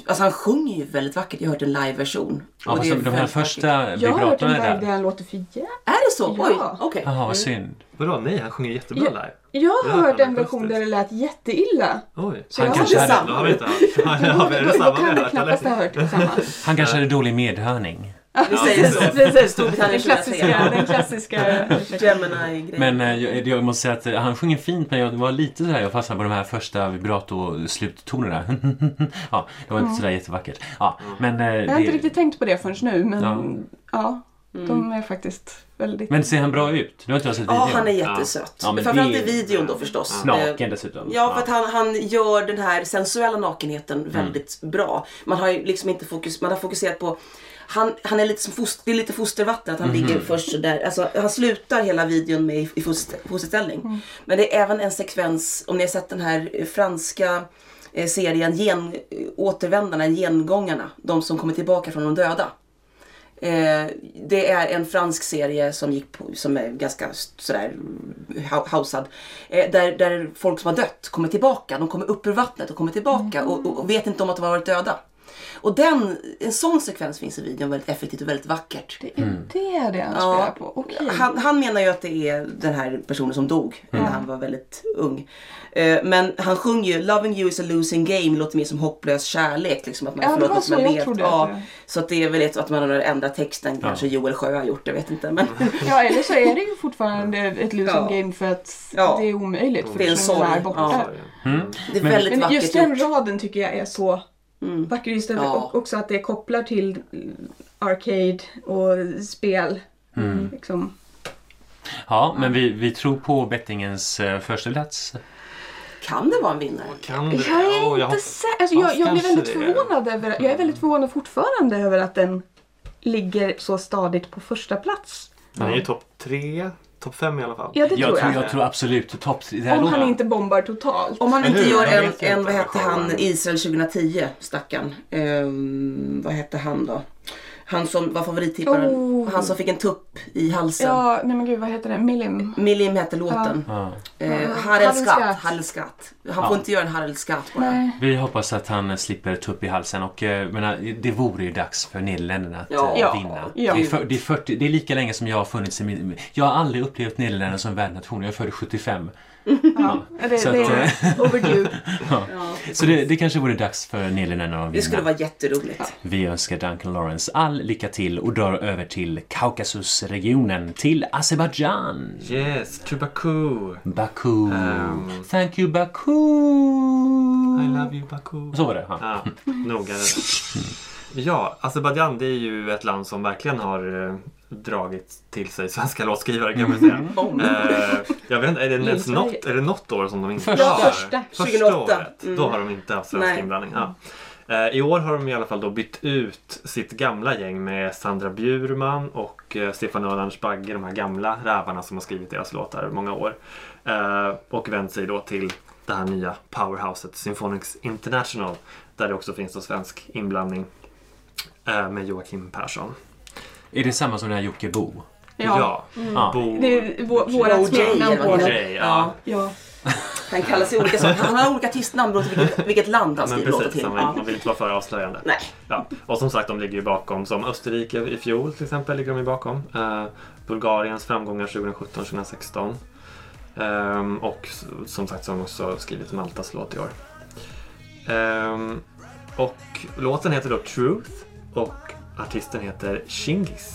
Speaker 5: Alltså han sjunger ju väldigt vackert. Jag har hört en liveversion.
Speaker 2: Ja,
Speaker 5: Och det
Speaker 2: fast
Speaker 5: är
Speaker 2: de här
Speaker 5: väldigt vackert.
Speaker 2: första
Speaker 3: Jag har hört en
Speaker 2: vibratorna
Speaker 3: live där
Speaker 2: där.
Speaker 3: han låter för jävligt.
Speaker 5: Är det så?
Speaker 3: Ja.
Speaker 5: Oj, okej.
Speaker 2: Jaha,
Speaker 3: Mm.
Speaker 2: vad synd.
Speaker 4: Vadå? Nej, han sjunger jättebra
Speaker 3: Ja.
Speaker 4: live.
Speaker 3: Jag
Speaker 4: Ja,
Speaker 3: har hört en
Speaker 4: fantastiskt.
Speaker 3: version där det lät jätteilla.
Speaker 4: Oj.
Speaker 3: Så jag
Speaker 2: Han
Speaker 3: har
Speaker 2: kanske hade-
Speaker 4: Då har vi inte...
Speaker 3: Då,
Speaker 4: Ja, ja, är
Speaker 3: då,
Speaker 4: det
Speaker 3: då
Speaker 4: samma
Speaker 3: kan
Speaker 4: vi
Speaker 3: det
Speaker 4: har hört,
Speaker 3: knappast ha
Speaker 4: eller?
Speaker 3: hört samma.
Speaker 2: Han kanske hade dålig medhörning.
Speaker 5: Vi säger så. Vi säger Storbritannien
Speaker 3: Den
Speaker 5: 2003.
Speaker 3: klassiska, den klassiska.
Speaker 5: Gemini-grejen.
Speaker 2: Men eh, jag, jag måste säga att eh, han sjunger fint, men jag var lite sådär, jag fastnade på de här första vibrato-sluttonerna. ja, det var inte sådär jättevackert. Ja, men, eh,
Speaker 3: Mm. Jag har inte
Speaker 2: det-
Speaker 3: riktigt tänkt på det förrän nu, men ja,
Speaker 2: Ja.
Speaker 5: Mm.
Speaker 3: de är faktiskt väldigt...
Speaker 2: men ser han bra ut? Du har inte jag sett
Speaker 5: Ja,
Speaker 2: videon?
Speaker 5: han är jättesöt.
Speaker 2: Ja, men
Speaker 5: Framförallt
Speaker 2: det-
Speaker 5: i videon då förstås. Eh,
Speaker 2: Naken dessutom.
Speaker 5: Ja, för att han, han gör den här sensuella nakenheten väldigt bra. Man har ju liksom inte fokus, man har fokuserat på han, han är lite som foster, det är lite fostervatten att han ligger först sådär. Alltså, han slutar hela videon med i, i foster, fosterställning. Men det är även en sekvens, om ni har sett den här eh, franska eh, serien Gen, eh, Återvändarna, Gengångarna. De som kommer tillbaka från de döda. Eh, det är en fransk serie som gick på, som är ganska s- sådär mm, hau- hausad. Eh, där, där folk som har dött kommer tillbaka. De kommer upp ur vattnet och kommer tillbaka och,
Speaker 3: Mm.
Speaker 5: och, och vet inte om att de har varit döda. Och den, en sån sekvens finns i videon väldigt effektivt och väldigt vackert.
Speaker 3: Det är
Speaker 4: Mm.
Speaker 3: det det han spelar på. Okej.
Speaker 5: Han, han menar ju att det är den här personen som dog när han var väldigt ung. Eh, men han sjunger ju “Loving you is a losing game” låter mer som hopplös kärlek. Liksom, att man
Speaker 3: Ja, det
Speaker 5: förlorat
Speaker 3: var
Speaker 5: något
Speaker 3: så
Speaker 5: man
Speaker 3: jag
Speaker 5: vet.
Speaker 3: trodde att
Speaker 5: ja,
Speaker 3: det-
Speaker 5: Så att det är väl ett, att man har ändrat texten. Kanske Joel Sjö har gjort det, jag vet inte.
Speaker 4: Mm.
Speaker 5: Men
Speaker 3: Ja, eller så är det ju fortfarande ett losing
Speaker 5: Ja.
Speaker 3: game för att
Speaker 5: Ja.
Speaker 3: det är omöjligt för
Speaker 5: Det är en
Speaker 3: personen
Speaker 5: sorg.
Speaker 3: är borta.
Speaker 5: Ja. det är väldigt
Speaker 3: Men
Speaker 5: vackert
Speaker 3: just den
Speaker 5: gjort. Mm.
Speaker 3: raden tycker jag är så vacker. Just det,
Speaker 5: Ja.
Speaker 3: och också att det kopplar till mm, arcade och spel. Liksom.
Speaker 2: Ja, men vi, vi tror på bettingens eh, första plats.
Speaker 5: Kan det vara en vinnare?
Speaker 4: Kan det?
Speaker 3: Jag är
Speaker 4: Åh, jag
Speaker 3: inte
Speaker 4: hoppas-
Speaker 3: säker. Alltså, jag,
Speaker 4: Fast
Speaker 3: jag blir
Speaker 4: kanske
Speaker 3: väldigt
Speaker 4: det är.
Speaker 3: förvånad över, jag är väldigt förvånad fortfarande över att den ligger så stadigt på första plats.
Speaker 4: Den är ju topp tre, topp fem i alla fall.
Speaker 3: Ja, det
Speaker 2: Jag
Speaker 3: tror jag.
Speaker 2: tror, jag tror absolut topp tre. Det här
Speaker 3: Om han
Speaker 2: låter-
Speaker 3: inte bombar totalt.
Speaker 5: Om han
Speaker 4: Eller
Speaker 5: inte
Speaker 4: hur?
Speaker 5: gör
Speaker 4: Jag
Speaker 5: en,
Speaker 4: vet
Speaker 5: en
Speaker 4: inte
Speaker 5: vad hette han,
Speaker 4: showen.
Speaker 5: Israel 2010, stackarn. Ehm, vad hette han då? Han som var favorittipparen.
Speaker 3: Oh.
Speaker 5: Han som fick en tupp i halsen.
Speaker 3: Ja, nej men gud vad heter den? Milim?
Speaker 5: Milim hette låten.
Speaker 2: Ja.
Speaker 5: Eh,
Speaker 3: Harelskatt.
Speaker 5: Harelskatt. Harelskatt. Han får inte göra en Harelskatt bara.
Speaker 3: Nej.
Speaker 2: Vi hoppas att han slipper tupp i halsen och eh, jag menar, det vore ju dags för Nederländerna att
Speaker 5: Ja.
Speaker 2: eh,
Speaker 5: Ja.
Speaker 2: vinna.
Speaker 3: Ja.
Speaker 2: Det, är för, det, är 40, det är lika länge som jag har funnits i min... Jag har aldrig upplevt Nederländerna som världsnation. Jag är född 75.
Speaker 3: Ja, det, det
Speaker 2: Så att,
Speaker 3: är overdue.
Speaker 2: Så det, det kanske vore dags för Nederländerna att
Speaker 5: Det skulle
Speaker 2: vinna.
Speaker 5: vara jätteroligt.
Speaker 2: Vi önskar Duncan Lawrence all lycka till och drar över till Kaukasusregionen, till Azerbaijan.
Speaker 4: Yes, to Baku.
Speaker 2: Baku.
Speaker 4: Ehm.
Speaker 2: Thank you Baku.
Speaker 4: I love you Baku.
Speaker 2: Så var det. Ja.
Speaker 4: Ja, noga. Ja, Azerbajdzjan det är ju ett land som verkligen har eh, dragit till sig svenska låtskrivare kan man säga. Eh, jag vet inte, är det, ens
Speaker 3: Lilla
Speaker 4: något, är det något år som de inte
Speaker 2: Första.
Speaker 4: har?
Speaker 3: Första.
Speaker 4: Första
Speaker 5: 2008.
Speaker 4: året. Då har de inte haft svensk
Speaker 5: Nej.
Speaker 4: inblandning. Ja. Eh, I år har de i alla fall då bytt ut sitt gamla gäng med Sandra Bjurman och eh, Stefan och Anders Bagge, de här gamla rävarna som har skrivit deras låtar i många år. Eh, och vänt sig då till det här nya powerhouset Symphonics International där det också finns då svensk inblandning eh, med Joakim Persson.
Speaker 2: Är det samma som den här Jocke Bo?
Speaker 4: Ja,
Speaker 2: Ja.
Speaker 4: Bo...
Speaker 3: Det är vå- vårat
Speaker 5: OJ,
Speaker 3: smeknamn
Speaker 5: eller
Speaker 3: på
Speaker 5: vad
Speaker 3: det.
Speaker 5: heter
Speaker 4: Jay, ja.
Speaker 3: Ja.
Speaker 5: Han kallar sig olika saker. Han har olika artistnamn beroende på vilket, vilket land han
Speaker 4: Men
Speaker 5: skriver låtar
Speaker 4: precis,
Speaker 5: Alltså, till.
Speaker 4: man vill,
Speaker 5: Ja.
Speaker 4: man vill inte vara för avslöjande.
Speaker 5: Nej.
Speaker 4: Ja. Och som sagt, de ligger ju bakom, som Österrike i fjol till exempel, ligger de ju bakom. Eh, Bulgariens framgångar 2017-2016. Ehm, och s- som sagt så har de också skrivit Maltas låt i år. Ehm, och låten heter då Truth och artisten heter Chingis.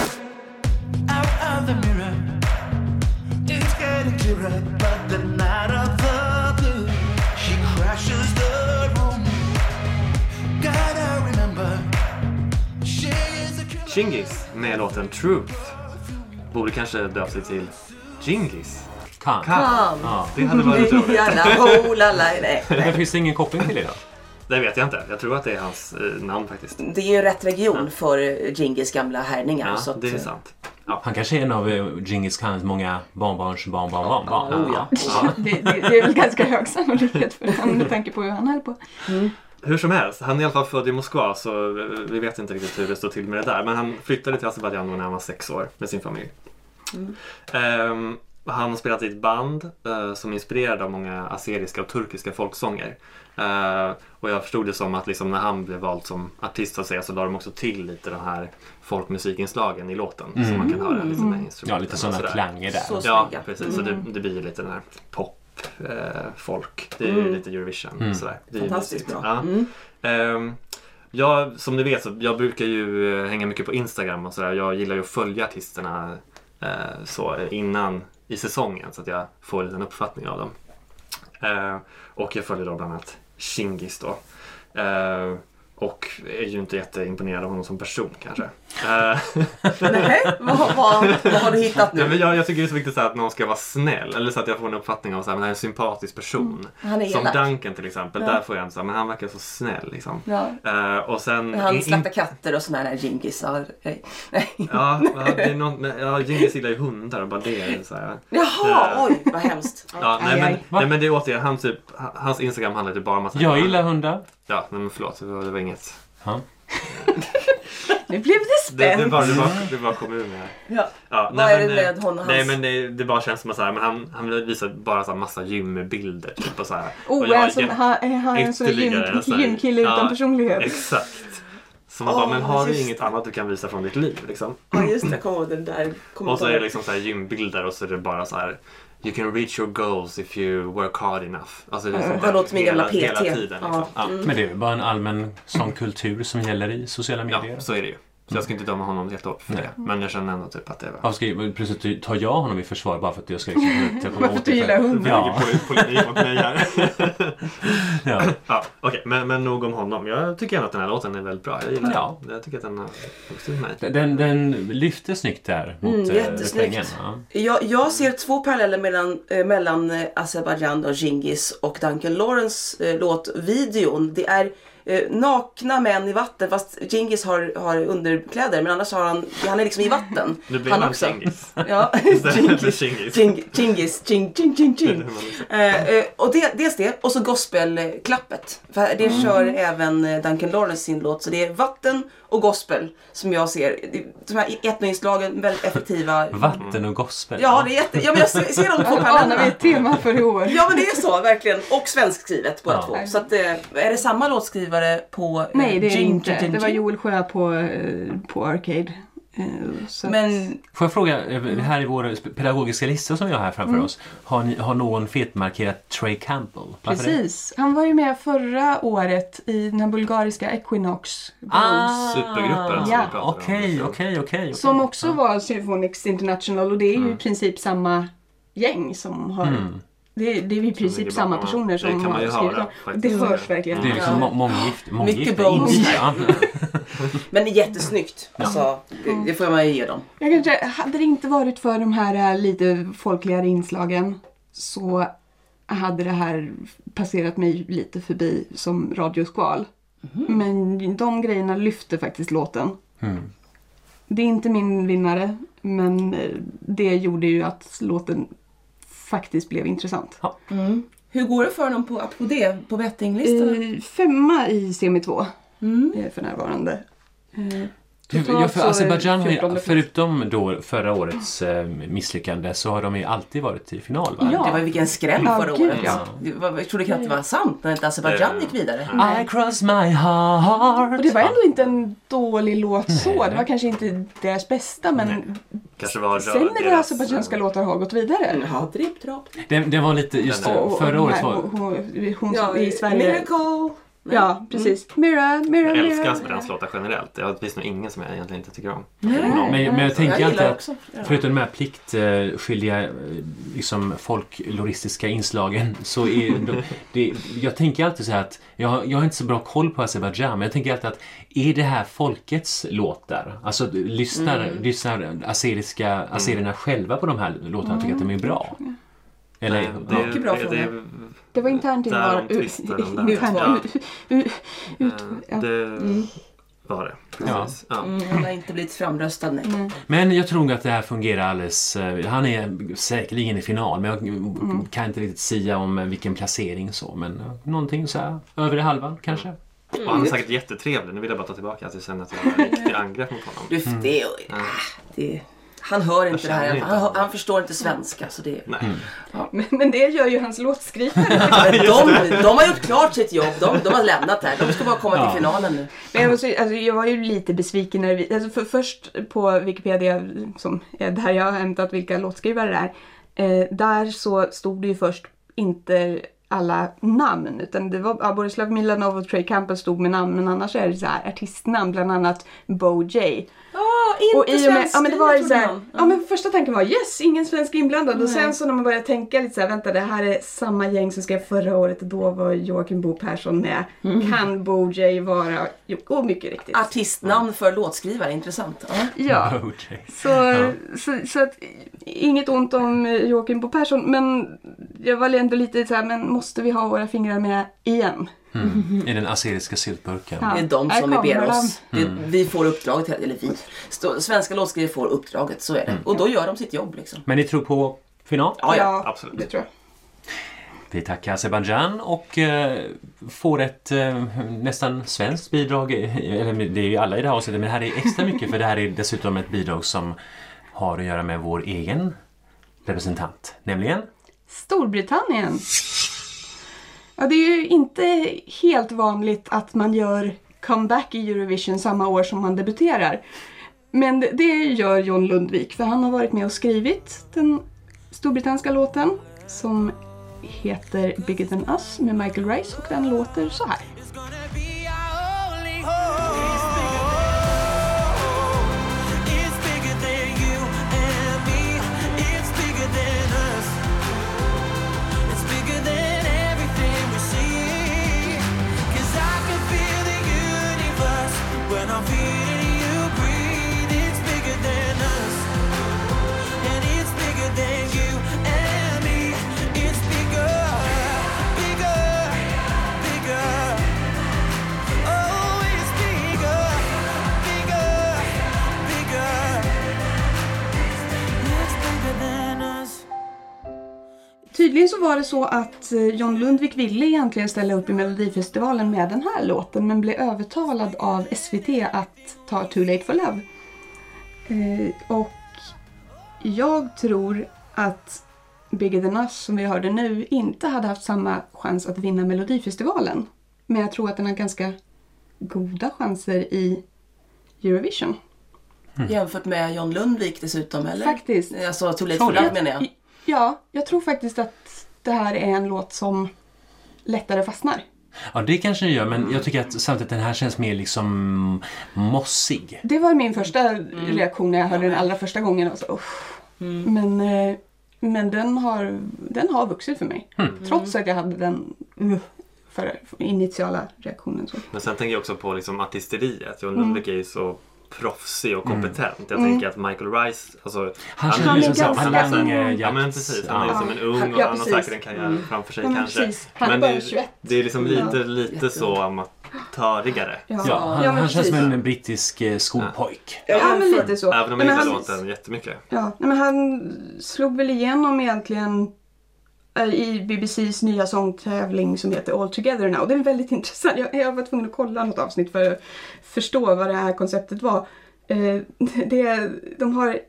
Speaker 1: out of the mirror. It's getting clearer, but the night of the blue, she crashes the room. Gotta remember, she is a killer.
Speaker 4: Chingis med låten Truth borde kanske döpt sig till Gingis.
Speaker 2: Kan.
Speaker 4: Kan.
Speaker 2: Ja.
Speaker 4: Det hade varit roligt.
Speaker 5: Jalla, oh, lalla, nej, nej.
Speaker 2: Men finns det ingen koppling till det då?
Speaker 4: Det vet jag inte. Jag tror att det är hans eh, namn faktiskt.
Speaker 5: Det är ju rätt region för Djingis gamla härningar.
Speaker 4: Ja,
Speaker 5: så att, eh,
Speaker 4: det är sant. Ja.
Speaker 2: Han kanske är en av eh, Djingis Khans många barnbarns barnbarnbarnbarn.
Speaker 5: Ja, oh, ja.
Speaker 3: Det, det, det är väl ganska hög sannolikhet för honom med tanke på hur han höll på.
Speaker 4: Hur som helst, han är i alla fall född i Moskva så eh, vi vet inte riktigt hur det står till med det där. Men han flyttade till Azerbajdzjan då när han var sex år med sin familj.
Speaker 5: Mm.
Speaker 4: Ehm, han har spelat i ett band eh, som är inspirerade av många aseriska och turkiska folksånger. Eh, och jag förstod det som att liksom, när han blev vald som artist så, att säga, så la de också till lite de här folkmusikinslagen i låten som man kan höra liksom,
Speaker 5: Mm.
Speaker 2: Mm.
Speaker 4: med
Speaker 2: Ja,
Speaker 4: instrumenten.
Speaker 2: lite
Speaker 4: och
Speaker 2: sådana
Speaker 4: sådär.
Speaker 2: klanger där.
Speaker 5: Så
Speaker 4: Ja,
Speaker 5: snygga. Mm.
Speaker 4: precis. Så det, det blir ju lite den här pop, eh, folk. Det är ju lite Eurovision. och Sådär. Det är ju
Speaker 5: Mm. Fantastiskt
Speaker 4: mysigt.
Speaker 5: bra. Mm.
Speaker 4: Ja. Ehm, jag, som ni vet så jag brukar ju eh, hänga mycket på Instagram och sådär. Jag gillar ju att följa artisterna eh, så eh, innan i säsongen så att jag får en liten uppfattning av dem. Eh, och jag följer då bland annat Chingis då. Eh, och är ju inte jätteimponerad av honom som person kanske. Eh,
Speaker 5: Nej, vad, vad, vad har du hittat
Speaker 4: Ja,
Speaker 5: nu?
Speaker 4: men jag, jag tycker det är så viktigt så här att någon ska vara snäll eller så att jag får en uppfattning av så här, men det här är en sympatisk person.
Speaker 5: Han Mm. är
Speaker 4: Som
Speaker 5: elak.
Speaker 4: Duncan till exempel, där får jag en så här, men han verkar så snäll liksom.
Speaker 3: Ja.
Speaker 4: Eh, och sen... in-
Speaker 5: Han
Speaker 4: in-
Speaker 5: slaktar katter och sådana här djingisar. Nej. nej.
Speaker 4: Ja, ja, det är någon, nej, ja, Djingis gillar ju hundar och bara det är så här.
Speaker 5: Jaha, oj vad hemskt.
Speaker 4: Ja,
Speaker 5: Aj,
Speaker 4: nej, men,
Speaker 5: aj.
Speaker 4: nej men det är återigen, han typ, hans Instagram handlar typ bara om att...
Speaker 2: Jag gillar hundar.
Speaker 4: Ja, nej men förlåt, det var, det var inget.
Speaker 2: Ja.
Speaker 3: Nu blev det
Speaker 4: Det, det,
Speaker 3: spänt.
Speaker 4: bara, det, bara, det bara kom ur mig här.
Speaker 5: Ja.
Speaker 4: Ja,
Speaker 5: Vad är det
Speaker 4: eh,
Speaker 5: med honom?
Speaker 4: Nej
Speaker 5: Hans-
Speaker 4: men det, det bara känns som att så här, men han, han visar bara så här massa gymbilder typ och så här.
Speaker 3: Oh,
Speaker 4: och
Speaker 3: är
Speaker 4: jag
Speaker 3: han
Speaker 4: är
Speaker 3: som-
Speaker 4: jätte-
Speaker 3: han- är han en sån
Speaker 4: ytterligare
Speaker 3: gym-
Speaker 4: så här-
Speaker 3: gymkille utan
Speaker 4: Ja,
Speaker 3: personlighet?
Speaker 4: Exakt. Så man
Speaker 5: Åh,
Speaker 4: bara, men har du
Speaker 5: just
Speaker 4: inget annat du kan visa från ditt liv liksom?
Speaker 5: Ja, just det, jag kommer ihåg den där
Speaker 4: Och så är det
Speaker 5: kommentaren.
Speaker 4: liksom så här gymbilder och så är det bara så här You can reach your goals if you work hard enough. Alltså
Speaker 3: Mm.
Speaker 4: det är sånt
Speaker 5: det
Speaker 4: där
Speaker 5: låter som min gamla
Speaker 4: hela- Hela
Speaker 5: PT.
Speaker 4: tiden
Speaker 5: Ja.
Speaker 4: liksom. Ja.
Speaker 2: Men det är väl bara en allmän sån kultur som gäller i sociala medier.
Speaker 4: ja, så är det ju. Så jag ska inte döma honom jättehårt för det.
Speaker 3: Mm.
Speaker 4: Men jag känner ändå typ att det var...
Speaker 2: Varför ska jag, plötsligt tar jag honom i försvar bara för att jag ska liksom, ta- komma
Speaker 3: Varför
Speaker 2: åt
Speaker 3: du gillar
Speaker 2: det?
Speaker 3: hundar?
Speaker 2: Ja,
Speaker 4: Ligger på- polemik mot mig här.
Speaker 2: ja.
Speaker 4: Ja, okej, men, men nog om honom. Jag tycker ändå att den här låten är väldigt bra. Jag gillar
Speaker 2: Ja.
Speaker 4: den. Jag tycker att den har vuxit med mig.
Speaker 2: Den, den lyfte snyggt där mot mm,
Speaker 5: jättesnyggt.
Speaker 2: refrängen. Ja.
Speaker 5: Jag, jag ser två paralleller mellan, eh, mellan eh, Azerbaijan och Djingis och Duncan Lawrence eh, låt videon. Det är eh, nakna män i vatten fast Djingis har, har underkläder men annars har han, han är liksom i vatten.
Speaker 4: Nu blir
Speaker 5: han
Speaker 4: han
Speaker 5: också.
Speaker 4: kängis.
Speaker 5: Ja,
Speaker 4: Istället för
Speaker 5: Djingis.
Speaker 4: kängis.
Speaker 5: Ching- Chingis, ching, ching, ching, ching.
Speaker 4: Det är hur man liksom-
Speaker 5: Eh, eh, och det, dels det, och så gospelklappet. För det
Speaker 4: Mm.
Speaker 5: kör även eh, Duncan Lawrence sin låt. Så det är vatten och gospel som jag ser. De här etnoinslagen, väldigt effektiva.
Speaker 2: Vatten och gospel.
Speaker 5: Ja, det är jätte... Ja, men jag ser, ser de två
Speaker 3: Här anar vi
Speaker 5: parallellerna.
Speaker 3: ett tema för i år.
Speaker 5: Ja, men det är så verkligen. Och svenskskrivet båda
Speaker 2: Ja.
Speaker 5: två. Så att, eh, är det samma låtskrivare på... eh,
Speaker 3: Nej, det är det
Speaker 5: Jing,
Speaker 3: inte.
Speaker 5: Jing, Jing,
Speaker 3: Det var
Speaker 5: Jing?
Speaker 3: Joel Sjö på, eh, på Arcade. Eh, Så att-
Speaker 7: Men
Speaker 2: Får jag fråga, eh, här i vår pedagogiska lista som vi har här framför
Speaker 5: Mm.
Speaker 2: oss. Har, ni, har någon fetmarkerat Trey Campbell? Varför det?
Speaker 3: Precis. Han var ju med förra året i den här bulgariska Equinox Bros.
Speaker 2: Ah,
Speaker 4: Supergruppen som
Speaker 3: Ja.
Speaker 4: vi pratade om.
Speaker 2: Okej, okej, okej.
Speaker 3: Som
Speaker 2: okej.
Speaker 3: också var Symphonics International och det är ju
Speaker 4: Mm.
Speaker 3: i princip samma gäng som har Det, det är ju i
Speaker 4: ligger
Speaker 3: princip
Speaker 4: bakom,
Speaker 3: samma
Speaker 4: ja.
Speaker 3: personer
Speaker 4: Det
Speaker 3: som
Speaker 4: kan man
Speaker 3: har
Speaker 4: ju
Speaker 3: skrivit
Speaker 4: höra,
Speaker 3: dem. Och Det
Speaker 4: faktiskt.
Speaker 3: hörs verkligen.
Speaker 2: Det är liksom må- månggift, månggifte.
Speaker 5: Mycket bonus.
Speaker 2: ingifte, ja.
Speaker 5: Men det är jättesnyggt. Alltså,
Speaker 3: Mm.
Speaker 5: det- det får man ju ge dem.
Speaker 3: Jag kan säga, hade det inte varit för de här eh, lite folkligare inslagen så hade det här passerat mig lite förbi som radioskval. Men de grejerna lyfte faktiskt låten.
Speaker 2: Mm.
Speaker 3: Det är inte min vinnare, men eh, det gjorde ju att låten faktiskt blev intressant.
Speaker 5: Hur går det för dem på, apropå det, på bettinglistan?
Speaker 3: Mm.
Speaker 5: Mm.
Speaker 3: Eh, femma i semi 2 eh, för närvarande. Eh,
Speaker 2: Hur-
Speaker 3: totalt
Speaker 2: Ja, för
Speaker 3: så är
Speaker 2: Azerbajdzjan har ju,
Speaker 3: 14
Speaker 2: förutom då förra årets eh, misslyckande, så har de ju alltid varit i final. Va?
Speaker 5: Det var ju vilken skräll
Speaker 3: Ja,
Speaker 5: förra
Speaker 3: gud,
Speaker 5: året.
Speaker 3: ja.
Speaker 5: Det var, jag trodde knappt det var sant när inte Azerbajdzjan
Speaker 4: Eh,
Speaker 5: gick vidare.
Speaker 2: I cross my heart.
Speaker 3: Och det var ändå inte en dålig låt så. Det var kanske inte deras bästa men
Speaker 4: Kanske var
Speaker 3: sen när det alltså
Speaker 4: deras- Mm.
Speaker 3: azerbajdzjanska låtar har gått vidare.
Speaker 5: Ja, dripp, dropp.
Speaker 2: Den, den var lite, just
Speaker 4: Den
Speaker 2: det,
Speaker 4: där.
Speaker 3: Och- och
Speaker 2: förra
Speaker 3: de
Speaker 2: året
Speaker 3: här-
Speaker 2: var...
Speaker 3: Hon, hon, hon
Speaker 5: Ja,
Speaker 3: i Sverige.
Speaker 5: Miracle. Mm.
Speaker 3: Ja, precis. Mira, mira,
Speaker 4: Jag
Speaker 3: mira.
Speaker 4: älskar Azerbajdzjans låtar generellt. Det finns nog ingen som jag egentligen inte tycker om.
Speaker 2: Men, men jag tänker
Speaker 5: Jag
Speaker 2: alltid
Speaker 5: gillar
Speaker 2: att
Speaker 5: också. Ja.
Speaker 2: förutom de här pliktskyldiga eh, liksom folkloristiska inslagen så är de, det, jag tänker alltid så här att jag, har- jag har inte så bra koll på Azerbajdzjan men jag tänker alltid att är det här folkets låtar? Alltså att lyssnar, lyssnar azeriska, azerierna själva på de här låtarna och tycker att de är
Speaker 3: Mm.
Speaker 2: bra? Eller, ja.
Speaker 5: Mycket bra
Speaker 4: det,
Speaker 5: fråga.
Speaker 4: det,
Speaker 3: Det var internt
Speaker 4: Där
Speaker 3: invar-
Speaker 4: de twistar de där.
Speaker 3: internt-
Speaker 4: Ja.
Speaker 3: ut- ut- ja. Mm.
Speaker 4: eh, det var det. Precis. Ja.
Speaker 5: Mm, Han har inte blivit framröstad, nej.
Speaker 2: Men jag tror nog att det här fungerar alldeles... eh, Han är säkerligen i final men jag kan inte riktigt sia om eh, vilken placering så men eh, någonting så här över halvan kanske.
Speaker 4: Och han är säkert jättetrevlig. Nu vill jag bara ta tillbaka att jag känner att jag har riktigt angrepp mot honom.
Speaker 2: Mm.
Speaker 5: Du, det, ah, det, han hör inte det
Speaker 4: Mm. känner
Speaker 5: här.
Speaker 4: inte
Speaker 5: Han, hör-
Speaker 4: honom.
Speaker 5: han förstår inte svenska. Så det,
Speaker 4: Nej.
Speaker 3: Men- Men det gör ju hans låtskrivare.
Speaker 5: de, de har gjort klart sitt jobb. De, de har lämnat det här. De ska bara komma till finalen nu.
Speaker 3: Men jag, måste, alltså, jag var ju lite besviken när vi, alltså, för, först på Wikipedia, som är där jag har hämtat vilka låtskrivare det är, eh, där så stod det ju först inte alla namn utan det var ja, Borislav Milanov och Trey Campbell stod med namn men annars är det så här artistnamn bland annat Bo J. Och i och med, ja, men det var ju så här, ja, men första tanken var yes, ingen svensk inblandad. Och sen så när man började tänka lite så här, vänta det här är samma gäng som skrev förra året och då var Joakim Bo Persson med. Kan Bo J vara, jo och mycket riktigt.
Speaker 5: Artistnamn för låtskrivare, intressant. Ja.
Speaker 3: Ah, ja.
Speaker 2: Okay.
Speaker 3: Så, så, så att, inget ont om eh, Joakim Bo Persson men jag var ändå lite så här, men måste vi ha våra fingrar med igen?
Speaker 2: I den azeriska syltburken.
Speaker 3: Ja.
Speaker 5: Det är de
Speaker 3: Här
Speaker 5: som vi ber
Speaker 3: kommer
Speaker 5: oss. Det,
Speaker 4: Mm.
Speaker 5: vi får uppdraget, eller vi. Stå, svenska låtskrivare får uppdraget, så är
Speaker 4: Mm.
Speaker 5: det. Och då gör de sitt jobb liksom.
Speaker 2: Men ni tror på final?
Speaker 5: Ja, ja.
Speaker 4: absolut.
Speaker 3: Det tror jag.
Speaker 2: Vi tackar Azerbajdzjan och eh, får ett eh, nästan svenskt bidrag. eh, Eller det är ju alla i det här avsnittet men det här är extra mycket för det här är dessutom ett bidrag som har att göra med vår egen representant. Nämligen
Speaker 3: Storbritannien. Ja, det är ju inte helt vanligt att man gör comeback i Eurovision samma år som man debuterar. Men det- det gör John Lundvik för han har varit med och skrivit den storbritanniska låten som heter Bigger than us med Michael Rice och den låter så här.
Speaker 1: It's gonna be our only hope. It's bigger than you and me. It's bigger than us. It's bigger than everything we see. 'Cause I can feel the universe when I'm feeling you breathe. It's bigger than us. And it's bigger than you and me. It's bigger, bigger, bigger. Oh, it's bigger, bigger, bigger. It's bigger than us.
Speaker 3: Tydligen så var det så att eh, John Lundvik ville egentligen ställa upp i Melodifestivalen med den här låten men blev övertalad av SVT att ta Too Late For Love. Eh, Och jag tror att Bigger Than Us som vi hörde nu inte hade haft samma chans att vinna Melodifestivalen. Men jag tror att den har ganska goda chanser i Eurovision.
Speaker 4: Mm.
Speaker 5: Jämfört med John Lundvik dessutom, eller?
Speaker 3: Faktiskt.
Speaker 5: Alltså Too Late
Speaker 2: Tror
Speaker 5: for Love
Speaker 2: jag.
Speaker 5: menar jag.
Speaker 3: Ja, jag tror faktiskt att det här är en låt som lättare fastnar.
Speaker 2: Ja, det kanske den gör, men jag tycker att samtidigt den här känns mer liksom mossig.
Speaker 3: Det var min första reaktion när Mm. jag hörde den allra första gången. Jag var så, "Uff." Men, eh, men den, har, den har vuxit för mig.
Speaker 2: Hmm.
Speaker 3: Trots att jag hade den uh, för, för initiala reaktionen. Så.
Speaker 4: Men sen tänker jag också på liksom artisteriet.
Speaker 3: Mm.
Speaker 4: John Lundvik är ju så proffsig och
Speaker 2: Mm.
Speaker 4: kompetent. Jag tänker att Michael Rice, alltså,
Speaker 2: Han
Speaker 4: är
Speaker 2: känns
Speaker 3: Han
Speaker 2: ju
Speaker 4: ju
Speaker 2: som
Speaker 4: som
Speaker 3: är
Speaker 2: så
Speaker 3: ganska
Speaker 4: så- han är
Speaker 2: talang,
Speaker 4: som-
Speaker 2: eh,
Speaker 4: Ja men precis, han är
Speaker 2: jakts-
Speaker 4: som en ung
Speaker 3: Han-
Speaker 4: och
Speaker 3: ja,
Speaker 4: han har
Speaker 3: precis. Mm.
Speaker 4: säkert en karriär framför sig
Speaker 3: Ja, men
Speaker 4: kanske.
Speaker 3: precis. Han är
Speaker 4: men
Speaker 3: bara
Speaker 4: det,
Speaker 3: 21.
Speaker 4: det är liksom lite,
Speaker 3: Ja.
Speaker 4: lite så um, amatörigare.
Speaker 3: Ja,
Speaker 2: Ja, han,
Speaker 3: Ja, men
Speaker 2: han känns som
Speaker 3: precis.
Speaker 2: en brittisk eh, skolpojk.
Speaker 5: Ja,
Speaker 3: Ja, men lite så.
Speaker 4: Även om
Speaker 3: Nej,
Speaker 4: jag
Speaker 3: men
Speaker 4: gillar
Speaker 3: han-
Speaker 4: låten jättemycket.
Speaker 3: Ja, nej, men han slog väl igenom egentligen eh, i BBCs nya sångtävling som heter All Together Now. Det är väldigt intressant. Jag, jag var tvungen att kolla något avsnitt för att förstå vad det här konceptet var. Eh, det, de har...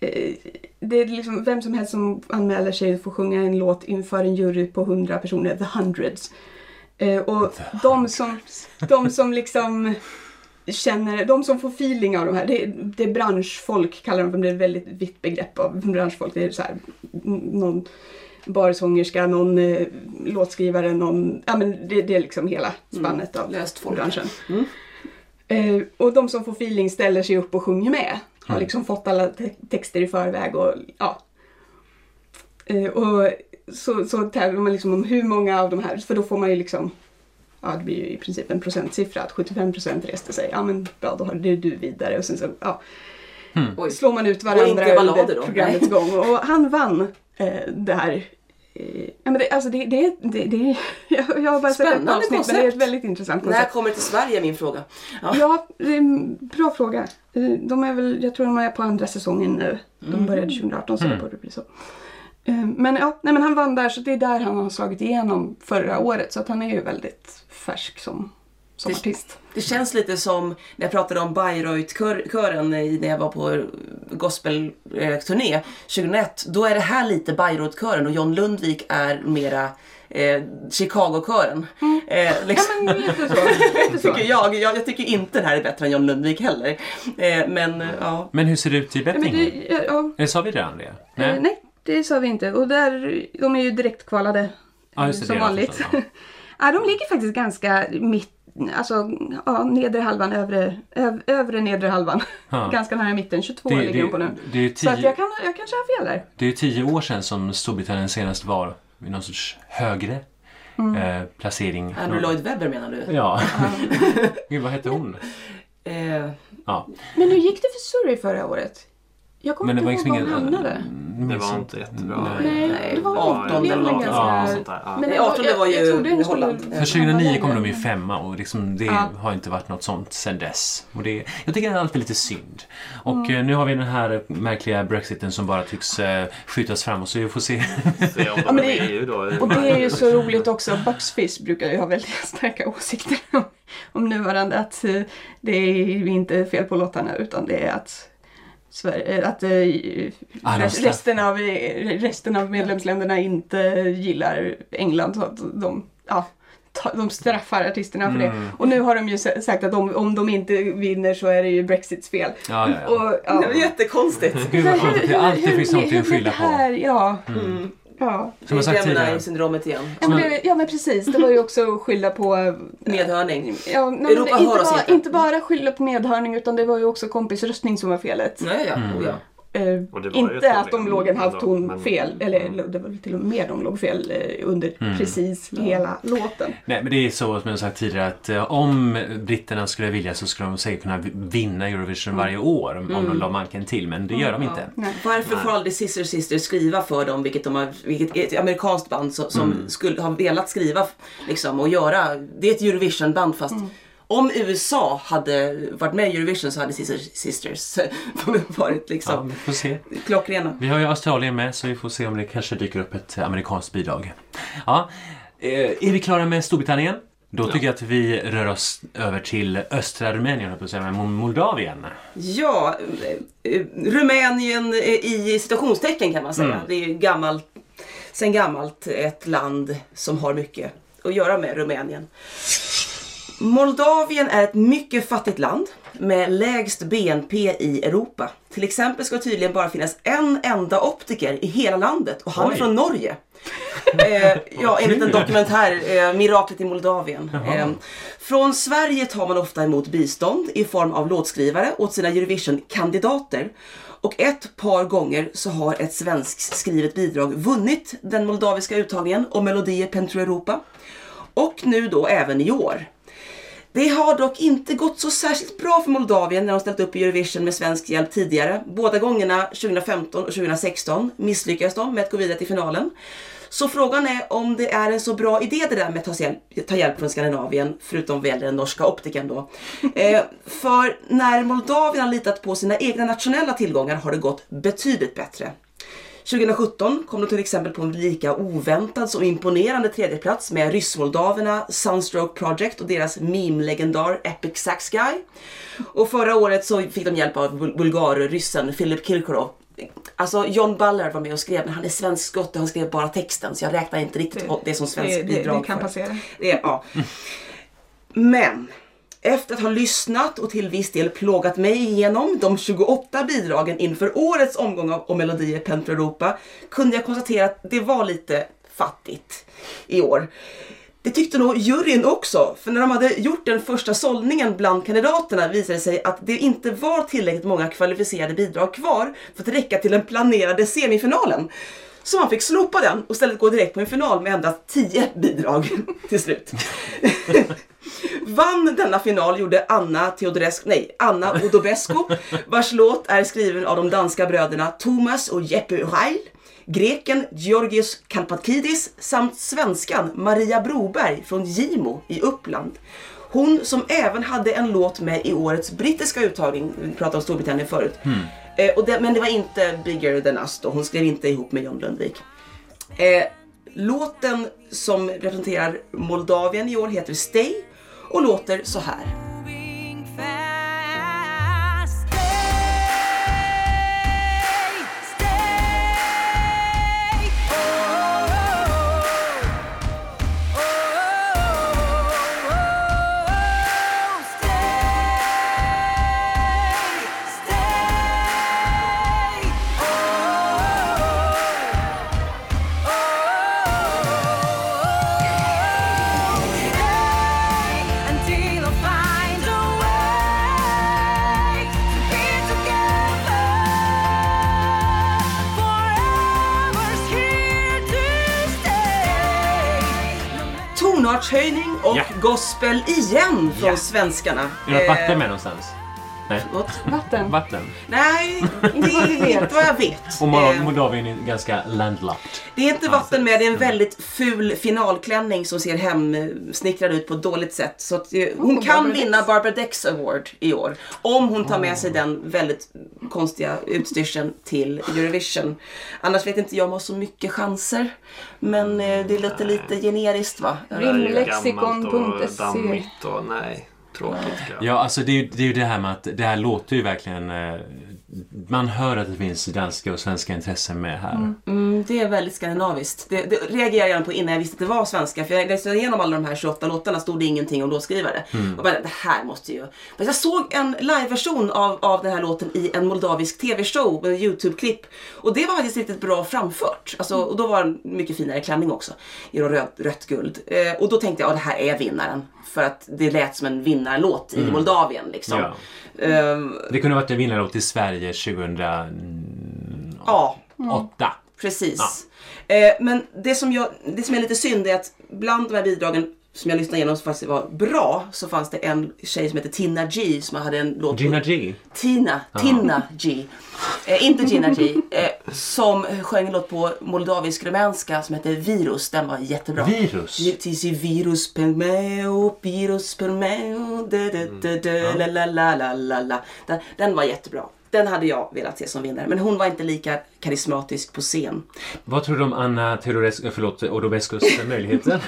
Speaker 3: eh, Det är liksom vem som helst som anmäler sig får sjunga en låt inför en jury på 100 personer, the hundreds. Eh, och de som, de som liksom känner, de som får feeling av de här, det, det är branschfolk kallar de för, det är ett väldigt vitt begrepp av branschfolk. Det är så här, mm, någon barsångerska, någon eh, låtskrivare, någon, ja men det, det är liksom hela spannet av
Speaker 5: Löst folk.
Speaker 3: branschen. Eh, och de som får feeling ställer sig upp och sjunger med. Har liksom fått alla te- texter i förväg och ja. Eh, och så, så tävlar man liksom om hur många av de här, för då får man ju liksom ja, det blir ju i princip en procentsiffra att 75 procent reste sig. Ja men bra, då har det du vidare och sen så ja,
Speaker 5: Oj.
Speaker 3: slår man ut
Speaker 5: Och
Speaker 3: varandra
Speaker 5: inte ballader
Speaker 3: under
Speaker 5: då?
Speaker 3: programmets gång. Och han vann eh, det här. Eh, ja, men det, alltså det, det, det, det, jag, jag har bara sett ett
Speaker 5: Spännande
Speaker 3: avsnitt men det är ett
Speaker 5: koncept.
Speaker 3: väldigt intressant
Speaker 5: När
Speaker 3: koncept.
Speaker 5: kommer det till Sverige är min fråga. Ja.
Speaker 3: Ja, det är en bra fråga. Eh, De är väl, jag tror de är på andra säsongen nu.
Speaker 5: Mm.
Speaker 3: De började 2018 så det borde bli så. Eh, Men ja, nej, men han vann där så det är där han har slagit igenom förra året så att han är ju väldigt färsk som, som
Speaker 5: Det-
Speaker 3: artist.
Speaker 5: Det känns lite som när jag pratade om Bayreuth-kören i- när jag var på gospelturné 2001. Då är det här lite Bayreuth-kören och John Lundvik är mera eh, Chicago-kören. Eh,
Speaker 3: Mm. Ja
Speaker 5: liksom.
Speaker 3: men lite så. Lite så.
Speaker 5: tycker jag. jag. Jag tycker inte den här är bättre än John Lundvik heller. Eh, men eh, ja.
Speaker 2: Men hur ser det ut i
Speaker 3: Ja, men
Speaker 2: Bettingen?
Speaker 3: det, ja, ja,
Speaker 2: Eller Eh, sa vi redan det?
Speaker 3: Eh, nej. nej, det sa vi inte. Och där, de är ju direktkvalade
Speaker 2: Ja,
Speaker 3: eh,
Speaker 2: just det,
Speaker 3: som
Speaker 2: det är
Speaker 3: vanligt.
Speaker 2: alltså, ja.
Speaker 3: ja, de ligger faktiskt ganska mitt, alltså ja, nedre halvan, övre, öv, övre nedre halvan.
Speaker 2: Ja.
Speaker 3: ganska nära mitten, 22
Speaker 2: Det-
Speaker 3: ligger
Speaker 2: det-
Speaker 3: de på nu.
Speaker 2: det är ju
Speaker 3: Så att
Speaker 2: tio-
Speaker 3: jag, kan, jag kanske har fel där.
Speaker 2: Det är ju tio år sedan som Storbritannien senast var i någon sorts högre
Speaker 3: Mm.
Speaker 2: eh, placering.
Speaker 5: Andrew Lloyd Webber menar du?
Speaker 2: Ja. Gud, vad hette hon?
Speaker 5: Eh,
Speaker 2: Ja.
Speaker 3: Men hur gick det för Surrey förra året? Jag kommer
Speaker 2: Men det
Speaker 3: inte
Speaker 2: var
Speaker 3: ihåg
Speaker 2: liksom
Speaker 3: var de
Speaker 2: ingen-
Speaker 3: hamnade.
Speaker 4: Det
Speaker 2: minns
Speaker 4: var
Speaker 2: inte.
Speaker 4: inte jättebra.
Speaker 3: Nej, det var väl
Speaker 5: 18
Speaker 3: åttonde
Speaker 5: eller
Speaker 3: eller
Speaker 5: något.
Speaker 2: Ja,
Speaker 3: ganska...
Speaker 4: sånt där, ja.
Speaker 3: Men
Speaker 5: Nej, 18 var
Speaker 3: jag,
Speaker 5: ju
Speaker 3: jag trodde den skulle-
Speaker 5: Holland.
Speaker 2: För 2009 kom de ju femma och liksom det
Speaker 3: Ja.
Speaker 2: har inte varit något sånt sedan dess. Och det, jag tycker det är alltid lite synd. Och
Speaker 3: Mm.
Speaker 2: eh, nu har vi den här märkliga brexiten som bara tycks eh, skjutas framåt så vi får se.
Speaker 4: Se om de
Speaker 3: men
Speaker 4: är
Speaker 3: det-
Speaker 4: med i EU då.
Speaker 3: Och det är ju så roligt också. Bucks Fizz brukar ju ha väldigt starka åsikter om, om nuvarande. Att eh, det är ju inte fel på låtarna utan det är att, Sverige, eh, att eh,
Speaker 2: Ah, de
Speaker 3: res-
Speaker 2: straffar.
Speaker 3: resten, av, eh, resten av medlemsländerna inte gillar England. Så att de, ja, ta- de straffar artisterna för det.
Speaker 2: Mm.
Speaker 3: Och nu har de ju sa- sagt att om, om de inte vinner så är det ju Brexits fel.
Speaker 2: Ja, ja, ja.
Speaker 3: Och, ja.
Speaker 5: Det var jättekonstigt.
Speaker 2: Gud vad skönt att det alltid finns någonting att
Speaker 3: hur
Speaker 2: skylla
Speaker 3: det
Speaker 2: på. Mm.
Speaker 3: här- Ja. ja.
Speaker 2: Som jag sagt tidigare.
Speaker 5: Gemini-syndromet igen.
Speaker 3: Ja men, det, ja men precis, det var ju också att skylla på...
Speaker 5: Medhörning.
Speaker 3: Ja, nej, men
Speaker 5: Europa
Speaker 3: inte,
Speaker 5: hör oss
Speaker 3: bara,
Speaker 5: inte.
Speaker 3: inte bara skylla på medhörning utan det var ju också kompisröstning som var felet.
Speaker 5: Nej, ja.
Speaker 2: Mm.
Speaker 5: Oh, ja.
Speaker 3: Eh,
Speaker 4: Och Mm. det var ju ett
Speaker 3: inte att de
Speaker 4: problem
Speaker 3: låg en halv
Speaker 4: ändå,
Speaker 3: ton
Speaker 4: men- mm.
Speaker 3: fel, eller det var väl till och med de låg fel eh, under precis hela låten.
Speaker 2: Nej men det är så som jag sagt tidigare att eh, om britterna skulle vilja så skulle de säkert kunna vinna Eurovision varje år om om de la manken till men det gör de inte.
Speaker 5: Varför får aldrig Sister Sister skriva för dem, vilket, de har, vilket är ett amerikanskt band som, som skulle ha velat skriva liksom, och göra. Det är ett Eurovision-band fast om USA hade varit med i Eurovision så hade Sister Sisters varit
Speaker 2: Ja,
Speaker 5: liksom
Speaker 2: vi får se.
Speaker 5: klockrena.
Speaker 2: Vi har ju Australien med så vi får se om det kanske dyker upp ett eh, amerikanskt bidrag. Ja. Eh, är vi klara med Storbritannien? Då tycker jag att vi rör oss över till östra Rumänien, höll jag på att säga, men Mo- Moldavien.
Speaker 5: Ja, eh, eh, Rumänien eh, i citationstecken kan man säga. Det är ju gammalt, sen gammalt ett land som har mycket att göra med Rumänien. Moldavien är ett mycket fattigt land. med lägst BNP i Europa. Till exempel ska det tydligen bara finnas en enda optiker i hela landet och han är
Speaker 2: Oj.
Speaker 5: från Norge. eh, ja, enligt en
Speaker 2: kul.
Speaker 5: dokumentär, eh, Miraklet i Moldavien. Eh, från Sverige tar man ofta emot bistånd i form av låtskrivare åt sina Eurovision-kandidater. Och ett par gånger så har ett svenskskrivet bidrag vunnit den moldaviska uttagningen och Melodie Pentru Europa. Och nu då även i år. Det har dock inte gått så särskilt bra för Moldavien när de ställt upp i Eurovision med svensk hjälp tidigare. Båda gångerna, 2015 och 2016, misslyckades de med att gå vidare till finalen. Så frågan är om det är en så bra idé det där med att ta hjälp, ta hjälp från Skandinavien, förutom väl den norska optiken då. Eh, för när Moldavien har litat på sina egna nationella tillgångar har det gått betydligt bättre. 2017 kom de till exempel på en lika oväntad som imponerande tredjeplats med ryssmoldaverna Sunstroke Project och deras meme-legendar Epic Sax Guy. Och förra året så fick de hjälp av bul- bulgar-ryssen Filip Kirkorov. Alltså John Ballard var med och skrev, men han är svensk-skott och han skrev bara texten så jag räknar inte riktigt det, det som svenskt
Speaker 3: det, det,
Speaker 5: bidrag.
Speaker 3: det kan
Speaker 5: för.
Speaker 3: passera.
Speaker 5: Det är, ja. Men efter att ha lyssnat och till viss del plågat mig igenom de 28 bidragen inför årets omgång av Och Melodier Pentra Europa kunde jag konstatera att det var lite fattigt i år. Det tyckte nog juryn också, för när de hade gjort den första sållningen bland kandidaterna visade det sig att det inte var tillräckligt många kvalificerade bidrag kvar för att räcka till den planerade semifinalen. Så man fick slopa den och istället gå direkt på en final med endast 10 bidrag till slut. Vann denna final gjorde Anna Teodorescu, nej, Anna Odobescu, vars låt är skriven av de danska bröderna Thomas och Jeppe Uhail, greken Georgios Kalpatkidis samt svenskan Maria Broberg från Gimo i Uppland. Hon som även hade en låt med i årets brittiska uttagning, vi pratade om Storbritannien förut. Eh, och det, men det var inte Bigger than us då, hon skrev inte ihop med John Lundvik. Eh, låten som representerar Moldavien i år heter Stay och låter så här.
Speaker 6: moving fast. Stay, stay. Oh, oh, oh, oh, oh. Stay, stay. Oh, oh, oh, oh. Until I find a way to be together, forever's here to stay.
Speaker 5: Tonartshöjning och
Speaker 2: Ja.
Speaker 5: gospel igen från
Speaker 2: Ja.
Speaker 5: svenskarna.
Speaker 2: Är det något
Speaker 5: Eh,
Speaker 2: vatten med någonstans? Nej.
Speaker 5: förlåt.
Speaker 3: Vatten.
Speaker 2: Vatten.
Speaker 5: Nej, det vet vad jag vet.
Speaker 2: Och
Speaker 5: Eh,
Speaker 2: Mol- Moldavien är ganska landlocked.
Speaker 5: Det är inte vatten med, det är en väldigt ful finalklänning som ser hemsnickrad ut på ett dåligt sätt. Så att, eh, hon
Speaker 3: Oh,
Speaker 5: kan
Speaker 3: Barbara Dex.
Speaker 5: vinna Barbara Dex Award i år. Om hon tar med sig den väldigt konstiga utstyrseln till Eurovision. Annars vet inte jag om hon har så mycket chanser. Men eh, det låter lite generiskt va?
Speaker 4: Det där är ju
Speaker 3: Rimlexikon.se.
Speaker 4: gammalt och dammigt och nej, tråkigt tycker jag.
Speaker 2: Ja, alltså det är, ju, det är ju det här med att det här låter ju verkligen... Eh, man hör att det finns danska och svenska intressen med här.
Speaker 5: Mm, det är väldigt skandinaviskt. Det, det reagerade jag gärna på innan jag visste att det var svenska. För jag läste igenom alla de här 28 låtarna stod det ingenting om låtskrivare. Och bara, det här måste ju... Men jag såg en liveversion av, av den här låten i en moldavisk tv-show, en YouTube-klipp. Och det var faktiskt riktigt bra framfört. Alltså, och då var den mycket finare klänning också. I något röd, rött guld. Eh, och då tänkte jag, ja det här är vinnaren. För att det lät som en vinnarlåt i Moldavien liksom.
Speaker 2: Ja.
Speaker 5: Ehm,
Speaker 2: Det kunde ha varit en vinnarlåt i Sverige 2008.
Speaker 5: ja. Precis. Eh, men det som, jag, det som är lite synd är att bland de här bidragen som jag lyssnade igenom som faktiskt var bra så fanns det en tjej som hette Tina G som hade en låt
Speaker 2: Gina G.
Speaker 5: Tina, Tina G. Eh, inte Gina G. Eh, som sjöng en låt på moldavisk-rumänska som hette Virus. Den var jättebra.
Speaker 2: Virus?
Speaker 5: Tisi virus per meo, virus per meo, de, de,
Speaker 2: Mm.
Speaker 5: de, de, la, la, la, la, la, la. Den, den var jättebra. Den hade jag velat se som vinnare. Men hon var inte lika karismatisk på scen.
Speaker 2: Vad tror du om Anna Teodorescu, eh, förlåt, Odobescus möjligheter?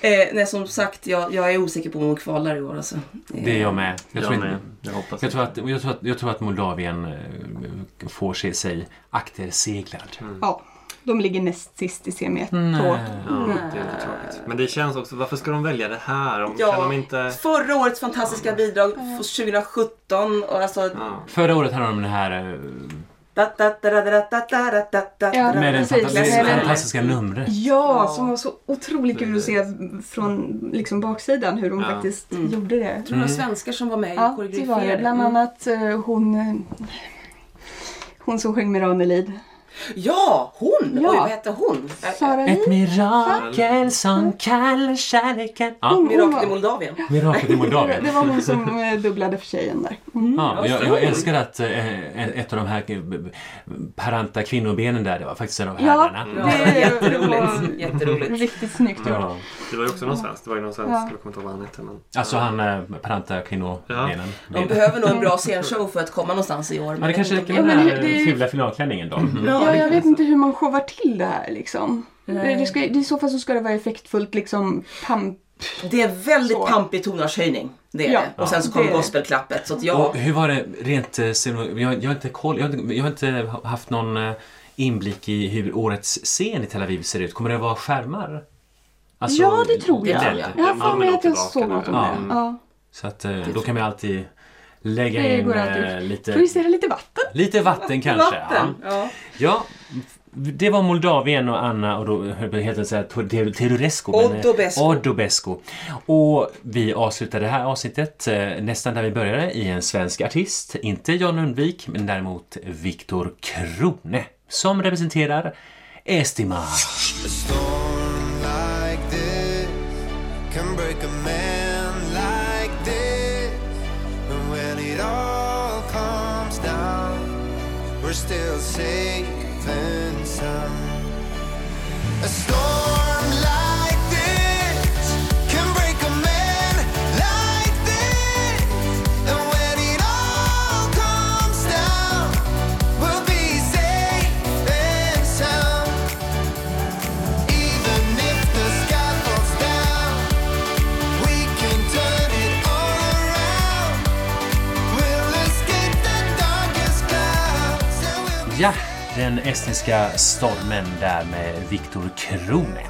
Speaker 5: Eh, nej, som sagt, jag, jag är osäker på om hon kvalar i år. Alltså. Eh,
Speaker 2: Det är jag med. Jag tror,
Speaker 4: Jag med.
Speaker 2: inte,
Speaker 4: Jag hoppas
Speaker 2: jag tror,
Speaker 4: inte.
Speaker 2: att, jag tror, att, jag tror att Moldavien eh, får se sig akterseglad.
Speaker 3: Ja. De ligger näst sist i semi-1 på.
Speaker 4: Det är lite tråkigt. Men det känns också, varför ska de välja det här? Om,
Speaker 5: Ja,
Speaker 4: Kan de inte...
Speaker 5: förra årets fantastiska bidrag för 2017 och alltså...
Speaker 4: Ja.
Speaker 2: Förra året hade de den här eh,
Speaker 5: Da, da, da, da, da, da, da, da, da, da,
Speaker 3: Ja,
Speaker 5: da.
Speaker 2: med det
Speaker 3: precis.
Speaker 2: fantastiska, Mm.
Speaker 3: Med den-
Speaker 2: fantastiska numret.
Speaker 3: Ja,
Speaker 5: Ja.
Speaker 3: som var så otroligt kul att se från liksom baksidan hur de
Speaker 4: Ja. Mm.
Speaker 3: faktiskt gjorde det.
Speaker 5: Tror du det var svenskar som var med i
Speaker 3: Ja, det var
Speaker 5: koreograferingen?
Speaker 3: det. Bland annat eh, hon, eh, hon som sjöng med Ranelid.
Speaker 5: Ja, hon!
Speaker 3: Ja.
Speaker 5: Oj, vad hette hon? Eh,
Speaker 3: Sara Li.
Speaker 2: Ett mirakel som
Speaker 3: Mm.
Speaker 2: kallar kärleken. Ja,
Speaker 3: Hon, hon
Speaker 5: Miraklet i
Speaker 3: var,
Speaker 5: Moldavien.
Speaker 2: miraklet i Moldavien.
Speaker 3: det var hon som eh, dubblade för tjejen där. Mm.
Speaker 2: Ja, och jag, jag älskar att eh, ett av de här eh, b- b- paranta kvinnobenen där, det var faktiskt en av
Speaker 3: Ja, Mm.
Speaker 2: herrarna.
Speaker 3: det
Speaker 5: Ja,
Speaker 3: var
Speaker 5: jätteroligt. jätteroligt.
Speaker 3: riktigt snyggt gjort.
Speaker 2: Ja.
Speaker 4: Det var ju också någon svensk. Det var ju någon svensk,
Speaker 3: Ja.
Speaker 4: jag kommer inte ihåg vad han hette. Men...
Speaker 2: Alltså
Speaker 4: Ja.
Speaker 2: han eh, paranta kvinnobenen.
Speaker 5: De behöver nog en bra scenshow för att komma någonstans i år.
Speaker 2: Ja, det kanske räcker med den
Speaker 3: Ja, men
Speaker 2: här
Speaker 3: det- Mm. det-
Speaker 2: fula finalklänningen då. Mm.
Speaker 3: Ja, jag vet inte hur man showar till det här liksom. Det ska, I så fall så ska det vara effektfullt liksom pamp.
Speaker 5: Det är väldigt
Speaker 3: Så.
Speaker 5: pampig tonartshöjning. Det är
Speaker 3: Ja,
Speaker 5: det. Och sen så
Speaker 3: det
Speaker 5: kom
Speaker 3: är det.
Speaker 5: gospelklappet. Så att ja,
Speaker 2: Och hur var det rent eh, sceno- jag, jag har inte koll, jag har inte, jag har inte haft någon eh, inblick i hur årets scen i Tel Aviv ser ut. Kommer det vara skärmar? Alltså,
Speaker 3: Ja, det tror
Speaker 5: det
Speaker 3: jag.
Speaker 5: tror
Speaker 2: LED.
Speaker 5: jag.
Speaker 3: Jag har för mig att jag
Speaker 4: Ja,
Speaker 3: såg något om
Speaker 2: ja.
Speaker 3: det. Ja.
Speaker 2: Så att eh, då kan vi alltid lägga
Speaker 3: Det
Speaker 2: in
Speaker 3: går alltid
Speaker 2: eh,
Speaker 3: ut.
Speaker 2: lite,
Speaker 3: Får vi se det lite vatten?
Speaker 2: lite vatten kanske.
Speaker 5: vatten.
Speaker 2: Ja.
Speaker 5: Ja.
Speaker 2: ja, det var Moldavien och Anna och då höll jag helt enkelt säga Teodorescu. eh,
Speaker 5: Odobescu.
Speaker 2: Odobescu. Och vi avslutar det här avsnittet eh, nästan där vi började i en svensk artist. Inte Jan Lundvik, men däremot Viktor Krone som representerar Estima.
Speaker 7: A storm like this can break a man like this. And when it all comes down, we're still safe and sound. A storm like this can break a man like this. And when it all comes down, we'll be safe and sound. Even if the sky falls down, we can turn it all around. We'll escape the darkest clouds and we'll be
Speaker 2: Ja, den estniska stormen där med Viktor Krone.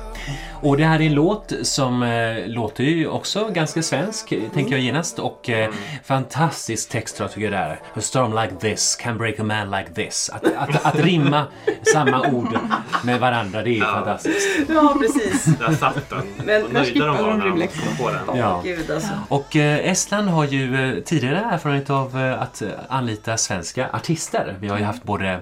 Speaker 2: Och det här är en låt som eh, låter ju också ganska svensk, eh, tänker jag genast. Och eh, fantastisk text tror jag tycker det är. A storm like this can break a man like this. Att, att, att rimma samma ord med varandra, det är ju fantastiskt.
Speaker 5: ja, precis.
Speaker 4: Där satt den.
Speaker 5: Men
Speaker 4: Vad
Speaker 5: där
Speaker 4: nöjda de
Speaker 3: skippade
Speaker 4: var
Speaker 3: de
Speaker 4: när de
Speaker 3: Rymlex.
Speaker 4: kom på den.
Speaker 2: Ja.
Speaker 5: Gud alltså.
Speaker 2: Och eh, Estland har ju eh, tidigare erfarenhet av eh, att eh, anlita svenska artister. Vi har ju haft både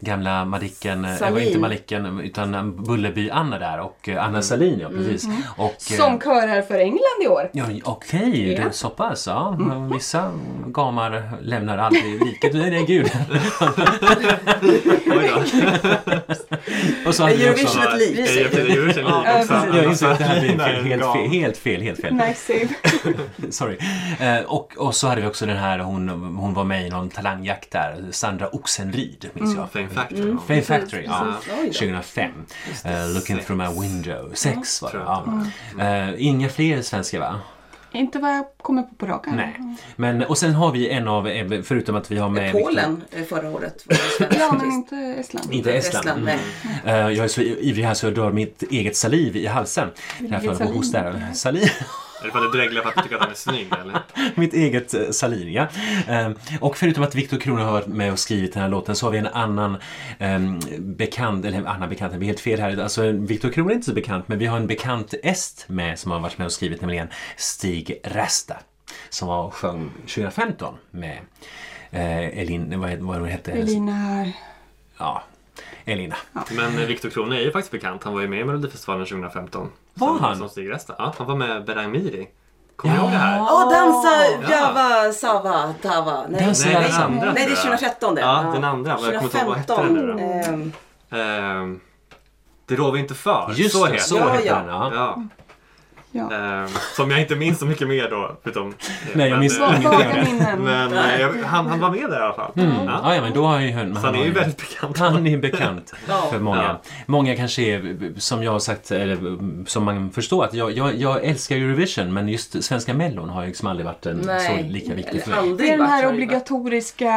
Speaker 2: gamla Madicken, eh,
Speaker 5: Sahlin.
Speaker 2: var inte Madicken utan Bullerby-Anna där och eh, Anna Salin ja precis. Och, eh,
Speaker 3: Som kör här för England i år.
Speaker 2: Ja, Mm. okej, det är så pass. Ja. Vissa gamar lämnar aldrig riket. Nej, nej, gud.
Speaker 4: Oj då.
Speaker 2: Och så
Speaker 5: Är
Speaker 2: hade vi också...
Speaker 5: Eurovision ett liv?
Speaker 4: Ja, jag- jag- jag känner
Speaker 5: Ja,
Speaker 4: också.
Speaker 3: precis.
Speaker 2: Jag insåg att det här blir
Speaker 4: Där är
Speaker 2: fel,
Speaker 4: en
Speaker 2: helt
Speaker 4: gam.
Speaker 2: fel, helt fel, helt fel.
Speaker 3: Nice save.
Speaker 2: Sorry. Eh, och, och så hade vi också den här, hon, hon var med i någon talangjakt där, Sandra Oxenrid, minns jag.
Speaker 4: Fame Factor.
Speaker 2: Mm. Fame Factory, ja.
Speaker 5: Mm, precis. Oj då.
Speaker 2: 2005. Eh, looking
Speaker 4: Sex.
Speaker 2: through my window. Sex var det,
Speaker 4: tror jag
Speaker 2: ja. Eh, Inga fler svenskar va?
Speaker 3: Inte vad jag kommer på på rak arm.
Speaker 5: Mm.
Speaker 2: Nej. Men, och sen har vi en av, eh, förutom att vi har med...
Speaker 5: Polen eh, förra året var det en svensk
Speaker 3: Ja, men
Speaker 5: artist.
Speaker 3: inte Estland.
Speaker 2: Inte Estland.
Speaker 5: nej.
Speaker 2: Eh, jag är så ivrig här så jag dör mitt eget saliv i halsen. Därför jag får
Speaker 3: salin.
Speaker 2: hosta här. Salin.
Speaker 4: Är det för att du dreglar för att du tycker att han är snygg eller?
Speaker 2: mitt eget eh, salin, ja. Eh, och förutom att Viktor Krone har varit med och skrivit den här låten så har vi en annan eh, bekant, eller en annan bekant, det blir helt fel här. Alltså Viktor Krone är inte så bekant, men vi har en bekant est med som har varit med och skrivit, nämligen Stig Rasta. Som var och sjöng 2015 med eh, Elin, vad, vad hon hette?
Speaker 3: Elina...
Speaker 2: Ja, Elina.
Speaker 4: Men eh, Viktor Krone är ju faktiskt bekant. Han var ju med i Melodifestivalen 2015.
Speaker 2: Var
Speaker 4: som,
Speaker 2: han?
Speaker 4: Som Stig Resta. Ja, han var med Berang Miri. Kommer du ihåg det här?
Speaker 5: Ja, dansa Java Sava Tava. Nej,
Speaker 2: Dansa
Speaker 4: Nej,
Speaker 2: Java
Speaker 5: nej,
Speaker 4: den
Speaker 2: Sava.
Speaker 4: andra
Speaker 5: nej, det är
Speaker 4: tror jag.
Speaker 5: 2013 det.
Speaker 4: Ja, den andra. Jag kommer inte ihåg vad hette den nu då.
Speaker 5: 2015. ehm,
Speaker 4: Ehm, det rår vi inte för.
Speaker 2: Just
Speaker 4: så
Speaker 2: det,
Speaker 4: heter
Speaker 2: så
Speaker 5: Ja,
Speaker 2: hette
Speaker 5: ja.
Speaker 2: den. Ja.
Speaker 4: Ja.
Speaker 3: Ja.
Speaker 4: Eh, som jag inte minns så mycket mer då. Förutom,
Speaker 2: Nej, jag minns
Speaker 4: men, eh,
Speaker 2: ingenting. Mm.
Speaker 3: Svaga minnen.
Speaker 4: men eh, jag, han, han var med där i alla fall. Ja.
Speaker 2: Ja, ja, men då har jag ju hört...
Speaker 4: Så han är ju väldigt bekant.
Speaker 2: Han är bekant för många.
Speaker 4: Ja.
Speaker 2: Många kanske är, som jag har sagt, eller som man förstår, att jag, jag, jag älskar Eurovision men just svenska mellon har ju liksom aldrig varit en
Speaker 5: Nej.
Speaker 2: så lika viktig för
Speaker 5: Eller
Speaker 2: mig.
Speaker 5: aldrig
Speaker 3: Det är den
Speaker 5: vart,
Speaker 3: här
Speaker 5: har det varit.
Speaker 3: obligatoriska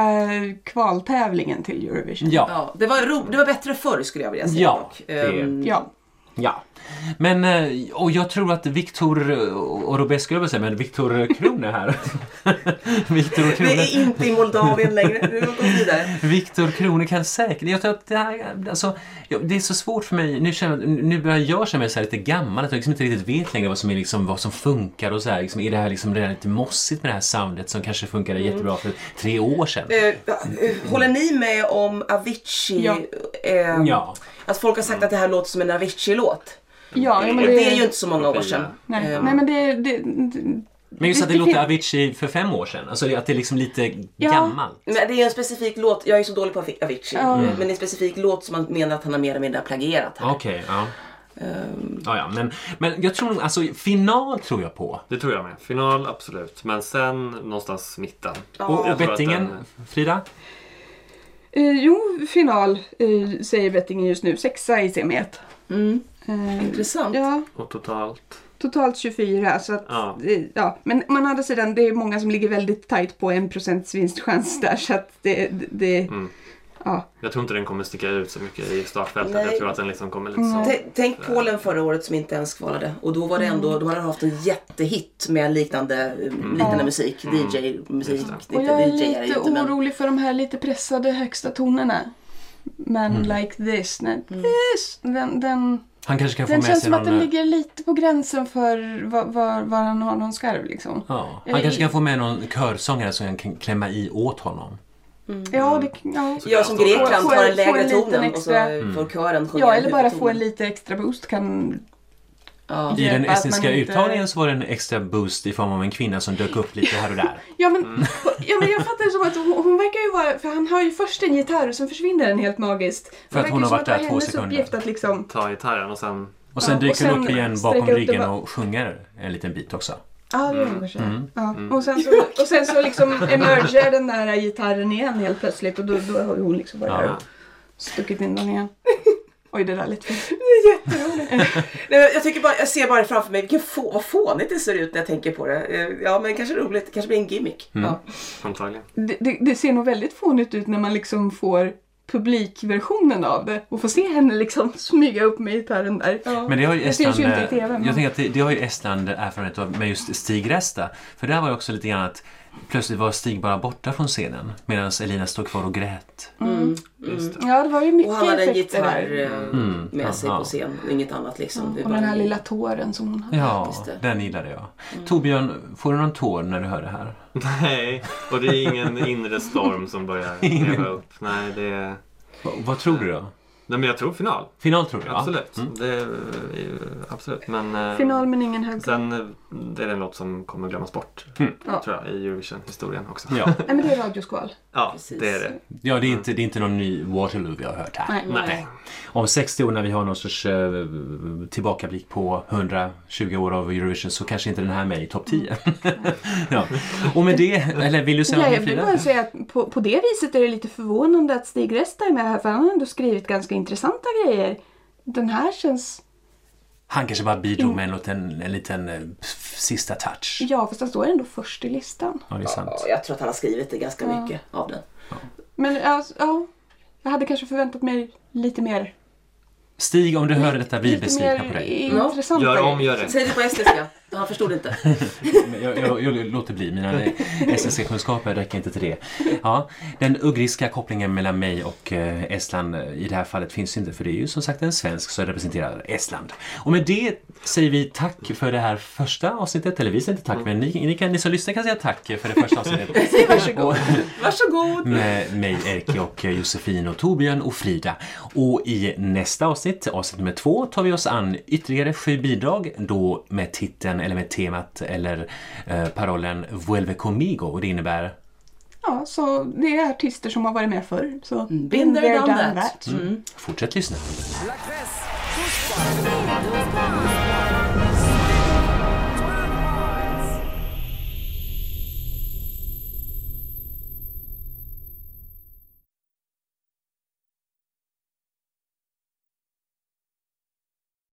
Speaker 3: kvaltävlingen till Eurovision.
Speaker 2: Ja,
Speaker 5: Ja, det var, ro, det var bättre förr skulle jag vilja säga
Speaker 2: Ja,
Speaker 5: dock.
Speaker 2: det är-
Speaker 5: Ehm,
Speaker 3: Ja.
Speaker 2: ja. Men, eh, och jag tror att Viktor Orobescu, jag vill säga, men Viktor Krone här. Viktor
Speaker 5: Vi
Speaker 2: Krone.
Speaker 5: är inte i Moldavien längre. Vi har gått vidare.
Speaker 2: Viktor Krone kan säkert... Jag tror att det, här, alltså, ja, det är så svårt för mig. Nu, känner, nu börjar jag känna mig så här lite gammal. Att jag liksom inte riktigt vet längre vad som, är liksom, vad som funkar. Och så här, liksom, är det här liksom redan lite mossigt med det här soundet som kanske funkade jättebra för tre år sedan?
Speaker 5: Eh, eh, håller ni med om Avicii?
Speaker 3: Ja.
Speaker 5: ehm,
Speaker 2: Ja.
Speaker 5: Att folk har sagt att det här låter som en Avicii-låt.
Speaker 3: Ja, ja, men
Speaker 5: Och det är ju
Speaker 3: det,
Speaker 5: inte så många år sedan.
Speaker 3: nej,
Speaker 5: Ehm,
Speaker 3: nej, men det, det, det
Speaker 2: Men just att det
Speaker 3: Det- det
Speaker 2: låter
Speaker 3: fin-
Speaker 2: Avicii för fem år sedan. Alltså att det är liksom lite
Speaker 3: Ja.
Speaker 2: gammalt.
Speaker 5: Men det är ju en specifik låt, jag är så dålig på Avi- Avicii,
Speaker 3: Ja.
Speaker 5: men det är en specifik låt som man menar att han har mer eller mindre plagierat här.
Speaker 2: Okej, ja.
Speaker 3: Ehm,
Speaker 2: ja, ja men, men jag tror nog, alltså final tror jag på.
Speaker 4: Det tror jag med. Final, absolut. Men sen någonstans mitten.
Speaker 2: Och,
Speaker 4: Jag
Speaker 2: och
Speaker 4: tror att
Speaker 2: bettingen,
Speaker 4: den-
Speaker 2: Frida?
Speaker 3: Eh, jo, final eh, säger bettingen just nu. Sexa i semi 1.
Speaker 5: Mm.
Speaker 3: Eh,
Speaker 5: Intressant.
Speaker 3: ja,
Speaker 4: Och totalt.
Speaker 3: totalt 24. Så att,
Speaker 4: Ja.
Speaker 3: eh, ja. Men man andra sidan, det är många som ligger väldigt tajt på 1% vinstchans där. Så att det, det- det
Speaker 2: Mm.
Speaker 3: ja.
Speaker 4: Jag tror inte den kommer sticka ut så mycket i startfältet.
Speaker 5: Nej.
Speaker 4: Jag tror att den liksom kommer lite så.
Speaker 5: T- Tänk Polen förra året som inte ens kvalade och då var det
Speaker 3: Mm.
Speaker 5: ändå, då hade de haft en jättehit med liknande, eh, liknande musik, DJ-musik.
Speaker 3: Mm. Och jag är lite orolig för de här lite pressade högsta tonerna. Men
Speaker 2: Mm.
Speaker 3: like this, nej,
Speaker 5: Mm.
Speaker 3: this den, den,
Speaker 2: Han kanske kan få
Speaker 3: den
Speaker 2: med
Speaker 3: känns
Speaker 2: sig
Speaker 3: som att
Speaker 2: någon... eh,
Speaker 3: den ligger lite på gränsen för var, var, var han har någon skarv liksom.
Speaker 2: Ja, han
Speaker 3: Jag-
Speaker 2: kanske kan få med någon körsångare som kan klämma i åt honom. Mm.
Speaker 3: Ja, det, ja.
Speaker 5: Jag som
Speaker 3: Får-
Speaker 5: Grekland tar den
Speaker 3: får en
Speaker 5: lägre
Speaker 3: liten
Speaker 5: tonen och så
Speaker 3: extra- Mm.
Speaker 5: får kören sjunga
Speaker 3: Ja, eller bara få
Speaker 5: huvudtonen.
Speaker 3: en lite extra boost kan...
Speaker 5: Ja.
Speaker 2: I
Speaker 3: Hjälpa
Speaker 2: den
Speaker 3: att man
Speaker 2: estniska
Speaker 3: inte-
Speaker 2: uttagningen så var det en extra boost i form av en kvinna som dök upp lite här och där.
Speaker 3: Ja men,
Speaker 2: Mm.
Speaker 3: ja, men jag fattar det som att hon, hon verkar ju vara... För han har ju först en gitarr och sen försvinner den helt magiskt.
Speaker 2: För att
Speaker 3: Det
Speaker 2: hon har
Speaker 3: verkar ju som
Speaker 2: varit
Speaker 3: det
Speaker 2: där
Speaker 3: var
Speaker 2: två
Speaker 3: hennes
Speaker 2: sekunder.
Speaker 3: uppgift att liksom...
Speaker 4: Ta gitarren och sen...
Speaker 2: Och sen
Speaker 3: Ja, och
Speaker 2: dyker hon
Speaker 3: sen
Speaker 2: upp igen bakom
Speaker 3: sträcker upp det
Speaker 2: ryggen
Speaker 3: bara-
Speaker 2: och sjunger en liten bit också.
Speaker 3: Ja, det
Speaker 2: Mm.
Speaker 3: gör sig. Ja. Och, sen så, och sen så liksom emerger den där gitarren igen helt plötsligt och då, då har ju hon liksom bara
Speaker 2: Ja.
Speaker 3: stuckit in den igen. Oj, det där lät fel.
Speaker 5: Nej, men jag, tycker bara, jag ser bara framför mig vilken få, vad fånigt det ser ut när jag tänker på det. Eh, Ja, men kanske roligt. Det kanske blir en gimmick.
Speaker 3: Mm.
Speaker 5: Ja.
Speaker 4: Antagligen.
Speaker 3: Det, det, det ser nog väldigt fånigt ut när man liksom får publikversionen av det och får se henne liksom smyga upp med gitarren där. Ja.
Speaker 2: Men det har ju
Speaker 3: Det syns ju
Speaker 2: Estland...
Speaker 3: inte i TV,
Speaker 2: eh,
Speaker 3: men-
Speaker 2: jag tänker att det, det har ju Estland erfarenhet av med just Stig Resta. För där var det också lite grann att plötsligt var Stig bara borta från scenen medan Elina stod kvar och grät.
Speaker 3: Mm,
Speaker 5: Mm.
Speaker 3: Ja, det var ju mycket
Speaker 5: Och han hade en
Speaker 3: effekter där.
Speaker 5: gitarr eh, med sig
Speaker 2: aha.
Speaker 5: på scen. Inget annat liksom. Det är
Speaker 3: Och
Speaker 5: bara-
Speaker 3: den här lilla tåren som hon hade.
Speaker 2: Ja,
Speaker 5: just det.
Speaker 2: den gillade jag.
Speaker 3: Mm.
Speaker 2: Torbjörn, får du någon tår när du hör det här?
Speaker 4: Nej, och det är ingen inre storm som börjar leva upp. Nej, det är...
Speaker 2: Va, vad tror du då?
Speaker 4: Nej, men jag tror final.
Speaker 2: Final tror du? Mm. ja.
Speaker 4: Absolut. Det är, eh, absolut. Men, eh,
Speaker 3: Final men ingen hög.
Speaker 4: Sen eh, det är det en låt som kommer glömmas bort.
Speaker 3: Ja.
Speaker 4: Tror jag, i Eurovision-historien också.
Speaker 2: Mm. Ja.
Speaker 3: Nej men det är radioskval.
Speaker 4: Ja,
Speaker 5: Precis.
Speaker 4: det är det.
Speaker 2: Ja, det är, inte, det är inte någon ny Waterloo vi har hört här.
Speaker 3: Nej.
Speaker 4: Nej.
Speaker 2: Om 60 år när vi har någon sorts eh, tillbakablick på 120 år av Eurovision så kanske inte den här är med i topp 10.
Speaker 3: Mm.
Speaker 2: ja. Och med det, eller vill du säga
Speaker 3: Ja, jag
Speaker 2: någonting
Speaker 3: vill
Speaker 2: Frida?
Speaker 3: bara säga att på, på det viset är det lite förvånande att Stig Resta är med här för han har ändå skrivit ganska intressanta grejer. Den här känns...
Speaker 2: Han kanske bara bidrog med en liten, en liten eh, sista touch.
Speaker 3: Ja, fast han står ändå först i listan.
Speaker 2: Ja, det är sant.
Speaker 5: Ja, jag tror att han har skrivit det ganska mycket av den.
Speaker 3: Men ja, s- ja, jag hade kanske förväntat mig lite mer...
Speaker 2: Stig, om du hör detta, vi är
Speaker 3: Lite
Speaker 2: besvikna på
Speaker 3: mer
Speaker 2: dig.
Speaker 3: intressanta
Speaker 4: Gör om,
Speaker 3: grejer.
Speaker 4: gör rätt.
Speaker 5: Säg det på estniska. Han förstod inte.
Speaker 2: Men Jag, jag, jag låter bli, mina SSC-kunskaper räcker inte till det. Ja, den ugriska kopplingen mellan mig och eh, Estland eh, i det här fallet finns ju inte för det är ju som sagt en svensk som representerar Estland. Och med det säger vi tack för det här första avsnittet, eller vi säger inte tack men ni, ni, kan, ni som lyssnar kan säga tack för det första avsnittet.
Speaker 5: Varsågod.
Speaker 2: Och-
Speaker 5: Varsågod.
Speaker 2: med mig, Erki och Josefin och Torbjörn och Frida. Och i nästa avsnitt, avsnitt nummer två, tar vi oss an ytterligare sju bidrag då med titeln eller med temat eller eh, parollen Vuelve conmigo och det innebär
Speaker 3: Ja, så det är artister som har varit med förr. Så
Speaker 5: Been there,
Speaker 3: they're
Speaker 5: Mm. done that.
Speaker 2: Fortsätt lyssna.
Speaker 6: Let's go.